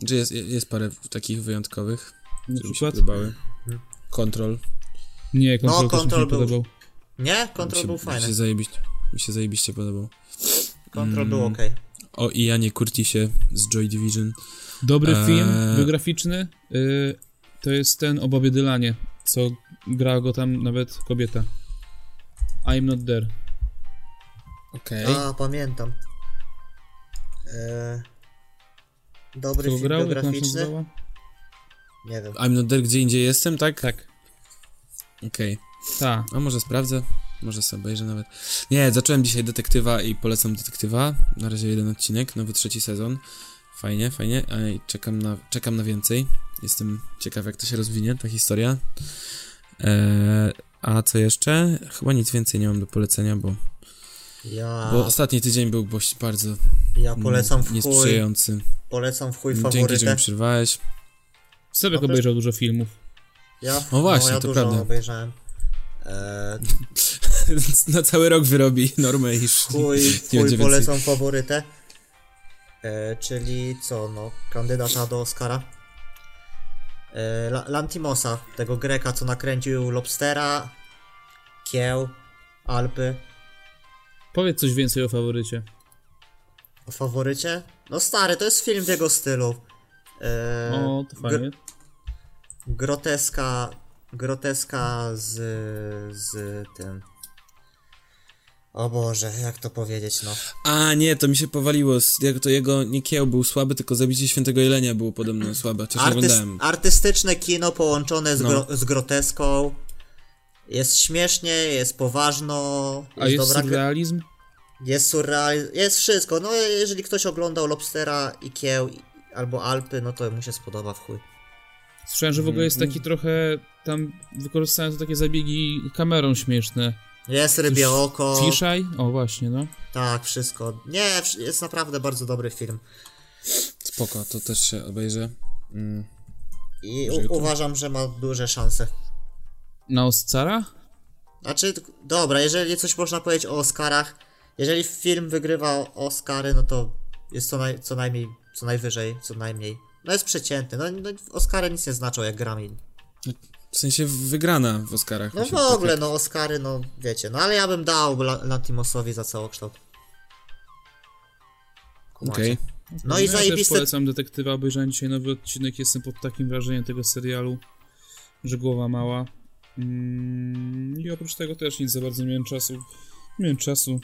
Speaker 3: Że jest, jest parę takich wyjątkowych,
Speaker 2: Na
Speaker 3: które mi się
Speaker 2: przykład? Mhm.
Speaker 3: podobały. Kontrol.
Speaker 2: Nie, kontrol,
Speaker 1: No,
Speaker 2: też mi się
Speaker 1: Control
Speaker 2: nie
Speaker 1: był-
Speaker 2: podobał.
Speaker 1: Nie?
Speaker 3: Mi
Speaker 1: Kontrol
Speaker 3: się-
Speaker 1: był
Speaker 3: Mi
Speaker 1: fajny.
Speaker 3: się zajebiście, mi się zajebiście podobał.
Speaker 1: Kontrol był
Speaker 3: Mm.
Speaker 1: okej.
Speaker 3: O Ianie Curtisie z Joy Division.
Speaker 2: Dobry
Speaker 3: Eee.
Speaker 2: film, biograficzny, y, to jest ten o Bobie Dylanie, co gra go tam nawet kobieta. I'm not there.
Speaker 3: Okej.
Speaker 1: A, pamiętam. E... Dobry
Speaker 2: Co
Speaker 1: film
Speaker 2: grał, jak ona się
Speaker 1: biograficzny?
Speaker 2: nazywała?
Speaker 1: Nie wiem.
Speaker 3: I'm not there, gdzie indziej jestem, tak?
Speaker 2: Tak,
Speaker 3: Okej.
Speaker 2: ta.
Speaker 3: A może sprawdzę? Może sobie obejrzę nawet. Nie, zacząłem dzisiaj detektywa i polecam detektywa. Na razie jeden odcinek, nowy trzeci sezon. Fajnie, fajnie. Ej, czekam na, czekam na więcej. Jestem ciekaw, jak to się rozwinie, ta historia. Eee, a co jeszcze? Chyba nic więcej nie mam do polecenia, bo,
Speaker 1: Ja,
Speaker 3: bo ostatni tydzień był boś- bardzo mm,
Speaker 1: ja polecam w chuj.
Speaker 3: niesprzyjający.
Speaker 1: Polecam w chuj
Speaker 3: Dzięki, że
Speaker 1: faworytę.
Speaker 3: mi przerwałeś.
Speaker 2: Sebek
Speaker 1: No to-
Speaker 2: obejrzał dużo filmów.
Speaker 1: Ja,
Speaker 3: No właśnie,
Speaker 1: ja
Speaker 3: to
Speaker 1: dużo
Speaker 3: prawda.
Speaker 1: obejrzałem. E,
Speaker 3: (laughs) na cały rok wyrobi normę i
Speaker 1: chuj,
Speaker 3: Nie
Speaker 1: chuj
Speaker 3: będzie
Speaker 1: polecam faworytę. E, czyli co, no, kandydata do Oscara. E, La- Lantimosa, tego Greka, co nakręcił Lobstera, Kieł, Alpy.
Speaker 2: Powiedz coś więcej o faworycie.
Speaker 1: O o faworycie? No stary, to jest film w jego stylu. E,
Speaker 2: O, to
Speaker 1: gr-
Speaker 2: fajnie.
Speaker 1: groteska, groteska z, z tym. O Boże, jak to powiedzieć, no.
Speaker 3: A nie, to mi się powaliło. s- Jak to jego nie kieł był słaby, tylko zabicie świętego jelenia było podobno słabe. Chociaż nie
Speaker 1: Artyst,
Speaker 3: oglądałem.
Speaker 1: artystyczne kino połączone z,
Speaker 3: No.
Speaker 1: gro, z groteską. Jest śmiesznie, jest poważno,
Speaker 2: A jest
Speaker 1: dobra gra-
Speaker 2: surrealizm?
Speaker 1: Jest surreal, jest wszystko. No jeżeli ktoś oglądał Lobstera i Kieł i- albo Alpy, no to mu się spodoba w chuj.
Speaker 2: Słyszałem, że w ogóle jest taki trochę, tam wykorzystają to takie zabiegi kamerą śmieszne.
Speaker 1: Jest rybie oko.
Speaker 2: Fiszaj? O, właśnie, no.
Speaker 1: Tak, wszystko. Nie, wsz- jest naprawdę bardzo dobry film.
Speaker 3: Spoko, to też się obejrzę. Mm.
Speaker 1: I
Speaker 3: Może
Speaker 1: u-
Speaker 3: jutro?
Speaker 1: uważam, że ma duże szanse.
Speaker 2: Na Oscara?
Speaker 1: Znaczy, t- dobra, jeżeli coś można powiedzieć o Oscarach, jeżeli film wygrywa o- Oscary, no to jest co, naj, co najmniej, co najwyżej, co najmniej. No jest przeciętny, no, no Oscary nic nie znaczą jak Grammy.
Speaker 3: W sensie wygrana w Oscarach.
Speaker 1: No
Speaker 3: mi
Speaker 1: w
Speaker 3: się tak-
Speaker 1: ogóle, no Oscary, no wiecie, no ale ja bym dał La- Latimosowi za całokształt.
Speaker 3: Okej.
Speaker 1: No i
Speaker 2: ja też
Speaker 1: zajebiste,
Speaker 2: polecam detektywa, obejrzałem dzisiaj nowy odcinek, jestem pod takim wrażeniem tego serialu, że głowa mała. Mm, I oprócz tego też nic za bardzo nie miałem czasu. Nie miałem czasu.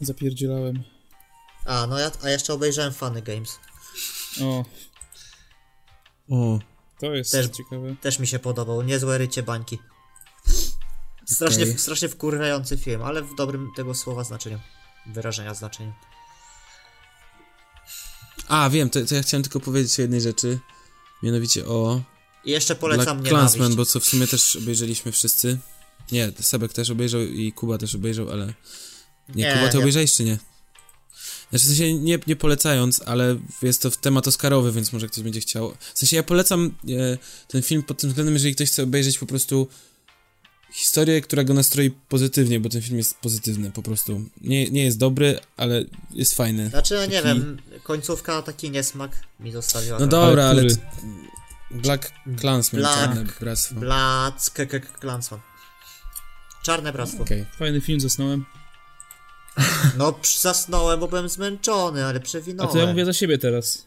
Speaker 2: Zapierdzielałem.
Speaker 1: a no ja, a jeszcze obejrzałem Funny Games,
Speaker 2: O,
Speaker 3: O,
Speaker 2: to jest
Speaker 1: Też-
Speaker 2: ciekawe.
Speaker 1: też mi się podobał, niezłe rycie bańki. Strasznie,
Speaker 3: Okej.
Speaker 1: strasznie wkurwiający film, ale w dobrym tego słowa znaczeniu, wyrażenia znaczeniu.
Speaker 3: A, wiem, to, to ja chciałem tylko powiedzieć o jednej rzeczy. Mianowicie o
Speaker 1: I jeszcze polecam
Speaker 3: Black
Speaker 1: mnie
Speaker 3: Clansman, bo co w sumie też obejrzeliśmy wszyscy. Nie, Sebek też obejrzał i Kuba też obejrzał, ale... Nie,
Speaker 1: Nie,
Speaker 3: Kuba, ty
Speaker 1: nie.
Speaker 3: obejrzałeś czy nie? Znaczy, w sensie nie, nie polecając, ale jest to temat Oscarowy, więc może ktoś będzie chciał. W sensie ja polecam e, ten film pod tym względem, jeżeli ktoś chce obejrzeć po prostu historię, która go nastroi pozytywnie, bo ten film jest pozytywny po prostu. Nie, nie jest dobry, ale jest fajny.
Speaker 1: Znaczy, no nie
Speaker 3: Taki-
Speaker 1: wiem, końcówka taki niesmak mi zostawiła.
Speaker 3: No
Speaker 1: do...
Speaker 3: dobra, ale...
Speaker 2: który?
Speaker 3: t- Black Clansman,
Speaker 1: Black
Speaker 3: czarne bractwo.
Speaker 1: Black K- K- K- Klansman. Czarne bractwo.
Speaker 3: Okej.
Speaker 2: Fajny film, zasnąłem.
Speaker 1: No, psz- zasnąłem, bo byłem zmęczony, ale
Speaker 2: A
Speaker 1: przewinąłem.
Speaker 2: to ja mówię za siebie teraz.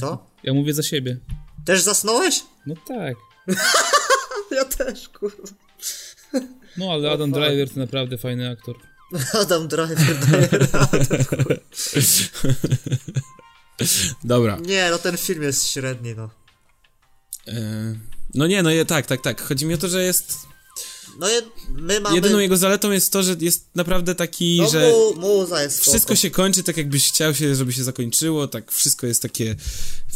Speaker 1: Co?
Speaker 2: Ja mówię za siebie.
Speaker 1: Też zasnąłeś?
Speaker 2: No tak.
Speaker 1: Ja też, kurwa. (laughs)
Speaker 2: No ale Adam Driver to naprawdę fajny aktor.
Speaker 1: Adam Driver no.
Speaker 3: (laughs)
Speaker 1: daje radę.
Speaker 3: Dobra.
Speaker 1: Nie, no ten film jest średni, no.
Speaker 3: E, no nie, no je, tak, tak, tak. Chodzi mi o to, że jest...
Speaker 1: No, je, my mamy...
Speaker 3: Jedyną jego zaletą jest to, że jest naprawdę taki,
Speaker 1: no,
Speaker 3: że...
Speaker 1: mu, muza jest
Speaker 3: Wszystko
Speaker 1: spoko.
Speaker 3: się kończy tak, jakbyś chciał się, żeby się zakończyło, tak wszystko jest takie,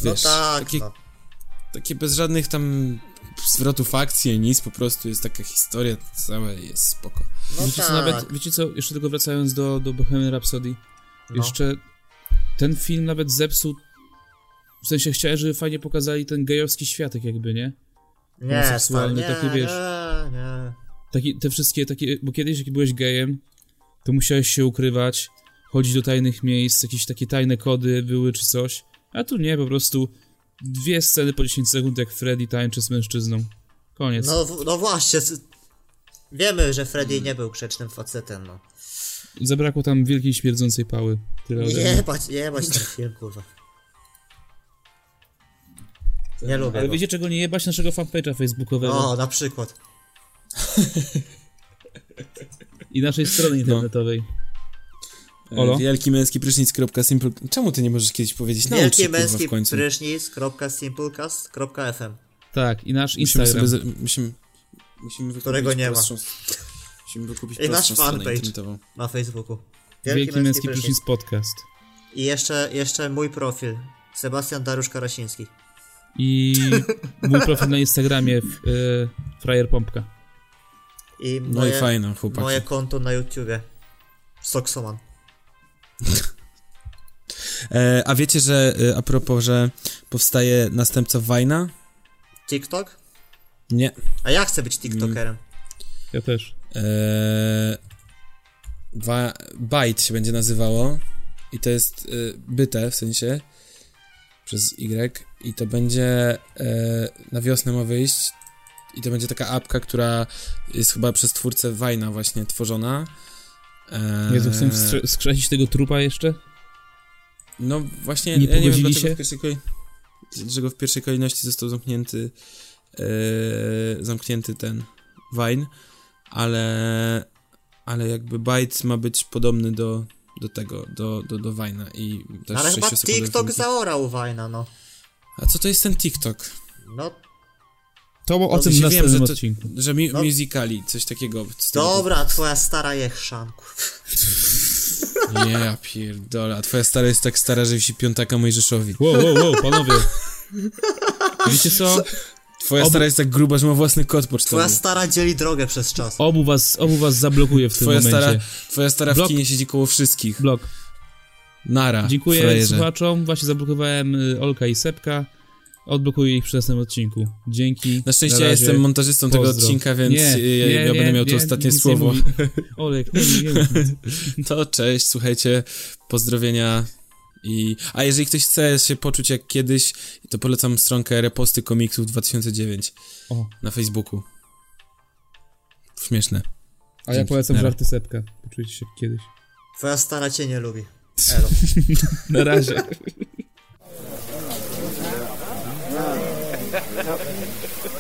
Speaker 3: wiesz,
Speaker 1: No tak,
Speaker 3: takie,
Speaker 1: no.
Speaker 3: takie bez żadnych tam zwrotów akcji, nic, po prostu jest taka historia, całe jest spoko.
Speaker 1: No
Speaker 2: wiecie,
Speaker 1: tak.
Speaker 2: co, nawet, wiecie co, jeszcze tylko wracając do, do Bohemian Rhapsody, jeszcze ten film nawet zepsuł, w sensie chciałem, żeby fajnie pokazali ten gejowski światek jakby, nie?
Speaker 1: Nie, stary,
Speaker 2: homoseksualny,
Speaker 1: nie,
Speaker 2: taki,
Speaker 1: nie,
Speaker 2: wiesz.
Speaker 1: nie.
Speaker 2: Taki, te wszystkie takie, bo kiedyś jak byłeś gejem, to musiałeś się ukrywać, chodzić do tajnych miejsc, jakieś takie tajne kody były czy coś, a tu nie, po prostu dwie sceny po 10 sekund jak Freddy tańczy z mężczyzną. Koniec.
Speaker 1: No, w- no właśnie. s- Wiemy, że Freddy nie był grzecznym facetem, no.
Speaker 2: Zabrakło tam wielkiej śmierdzącej pały. Tyle ode mnie.
Speaker 1: Jebać, jebać ten film, Tak, kurwa. Nie lubię
Speaker 2: Ale
Speaker 1: go.
Speaker 2: no. wiecie czego nie jebać naszego fanpage'a facebookowego
Speaker 1: O, na przykład.
Speaker 2: i naszej
Speaker 3: No.
Speaker 2: strony internetowej.
Speaker 3: E,
Speaker 2: Olo?
Speaker 3: Wielki męski prysznic.simple. Czemu ty nie możesz kiedyś powiedzieć? Naucz
Speaker 1: Wielki
Speaker 3: się, kurwa,
Speaker 1: No, męski
Speaker 3: w końcu.
Speaker 1: prysznic.simplecast.fm
Speaker 2: Tak, i nasz
Speaker 3: Musimy
Speaker 2: Instagram.
Speaker 3: sobie, za- musimy, musimy wykupić
Speaker 1: Którego nie ma.
Speaker 3: prostszą- Musimy wykupić
Speaker 1: I nasz
Speaker 3: prostszą stronę
Speaker 1: fanpage.
Speaker 3: internetową.
Speaker 1: na Facebooku.
Speaker 2: Wielki Męski Prysznic Podcast.
Speaker 1: I jeszcze, jeszcze mój profil. Sebastian Dariusz Karasiński.
Speaker 2: I (laughs) mój profil na Instagramie w, y, Frajer Pompka.
Speaker 1: I
Speaker 3: No
Speaker 1: moje,
Speaker 3: i fajno, chłopaki.
Speaker 1: moje konto na YouTubie. Soksoman.
Speaker 3: E, a wiecie, że e, a propos, że powstaje następca Wajna?
Speaker 1: TikTok?
Speaker 3: Nie.
Speaker 1: A ja chcę być TikTokerem.
Speaker 2: Ja też.
Speaker 3: Eee, wa- Byte się będzie nazywało i to jest y, byte w sensie przez Y i to będzie e, na wiosnę ma wyjść i to będzie taka apka, która jest chyba przez twórcę Wajna właśnie tworzona. Eee,
Speaker 2: Jezu, chcę wstrze- skrzesić tego trupa jeszcze?
Speaker 3: No właśnie,
Speaker 2: Nie
Speaker 3: ja nie wiem
Speaker 2: pogodzili
Speaker 3: dlaczego
Speaker 2: się?
Speaker 3: w pierwszej kolej... dlaczego w pierwszej kolejności został zamknięty e, zamknięty ten Vine, ale ale jakby Byte ma być podobny do, do tego, do, do, do Vine'a i też
Speaker 1: No Ale chyba
Speaker 3: 6-sekundowe
Speaker 1: TikTok
Speaker 3: filmiki.
Speaker 1: zaorał Wajna, no.
Speaker 3: A co to jest ten TikTok?
Speaker 1: No
Speaker 2: To o tym No, w
Speaker 3: Wiem,
Speaker 2: następnym
Speaker 3: że to-
Speaker 2: odcinku.
Speaker 3: Że mi-
Speaker 1: No.
Speaker 3: musicali, coś takiego. w stylu-
Speaker 1: dobra, twoja stara jechszanku.
Speaker 3: (laughs) Nie, ja pierdolę. A twoja stara jest tak stara, że wsi piątaka Mojżeszowi.
Speaker 2: Wow, wow, wow, panowie. Wiecie co?
Speaker 3: Twoja
Speaker 2: Ob-
Speaker 3: stara jest tak gruba, że ma własny kot pocztowy.
Speaker 1: Twoja stara dzieli drogę przez czas.
Speaker 2: Obu was, obu was zablokuje w tym
Speaker 3: Twoja
Speaker 2: momencie.
Speaker 3: stara, twoja stara w
Speaker 2: Blok.
Speaker 3: kinie siedzi koło wszystkich.
Speaker 2: Blok.
Speaker 3: Nara.
Speaker 2: Dziękuję
Speaker 3: frajerze.
Speaker 2: słuchaczom. Właśnie zablokowałem y, Olka i Sepka. Odblokuję ich w następnym odcinku. Dzięki.
Speaker 3: Na szczęście ja
Speaker 2: razie.
Speaker 3: jestem montażystą tego
Speaker 2: Pozdro.
Speaker 3: odcinka, więc
Speaker 2: Nie,
Speaker 3: y,
Speaker 2: nie,
Speaker 3: ja
Speaker 2: nie,
Speaker 3: będę miał
Speaker 2: nie,
Speaker 3: to ostatnie
Speaker 2: nic
Speaker 3: słowo.
Speaker 2: Nie mówi. Olek, nie, nie, nie.
Speaker 3: (laughs) To cześć, słuchajcie, pozdrowienia i... A jeżeli ktoś chce się poczuć jak kiedyś, to polecam stronkę Reposty Komiksów 2009
Speaker 2: (laughs) O,
Speaker 3: na Facebooku. Śmieszne.
Speaker 2: a ja
Speaker 3: Dzięki.
Speaker 2: polecam
Speaker 3: Na
Speaker 2: żarty Sepka. Poczujcie się kiedyś.
Speaker 1: Twoja stara cię nie lubi. Elo.
Speaker 2: Na razie. (laughs)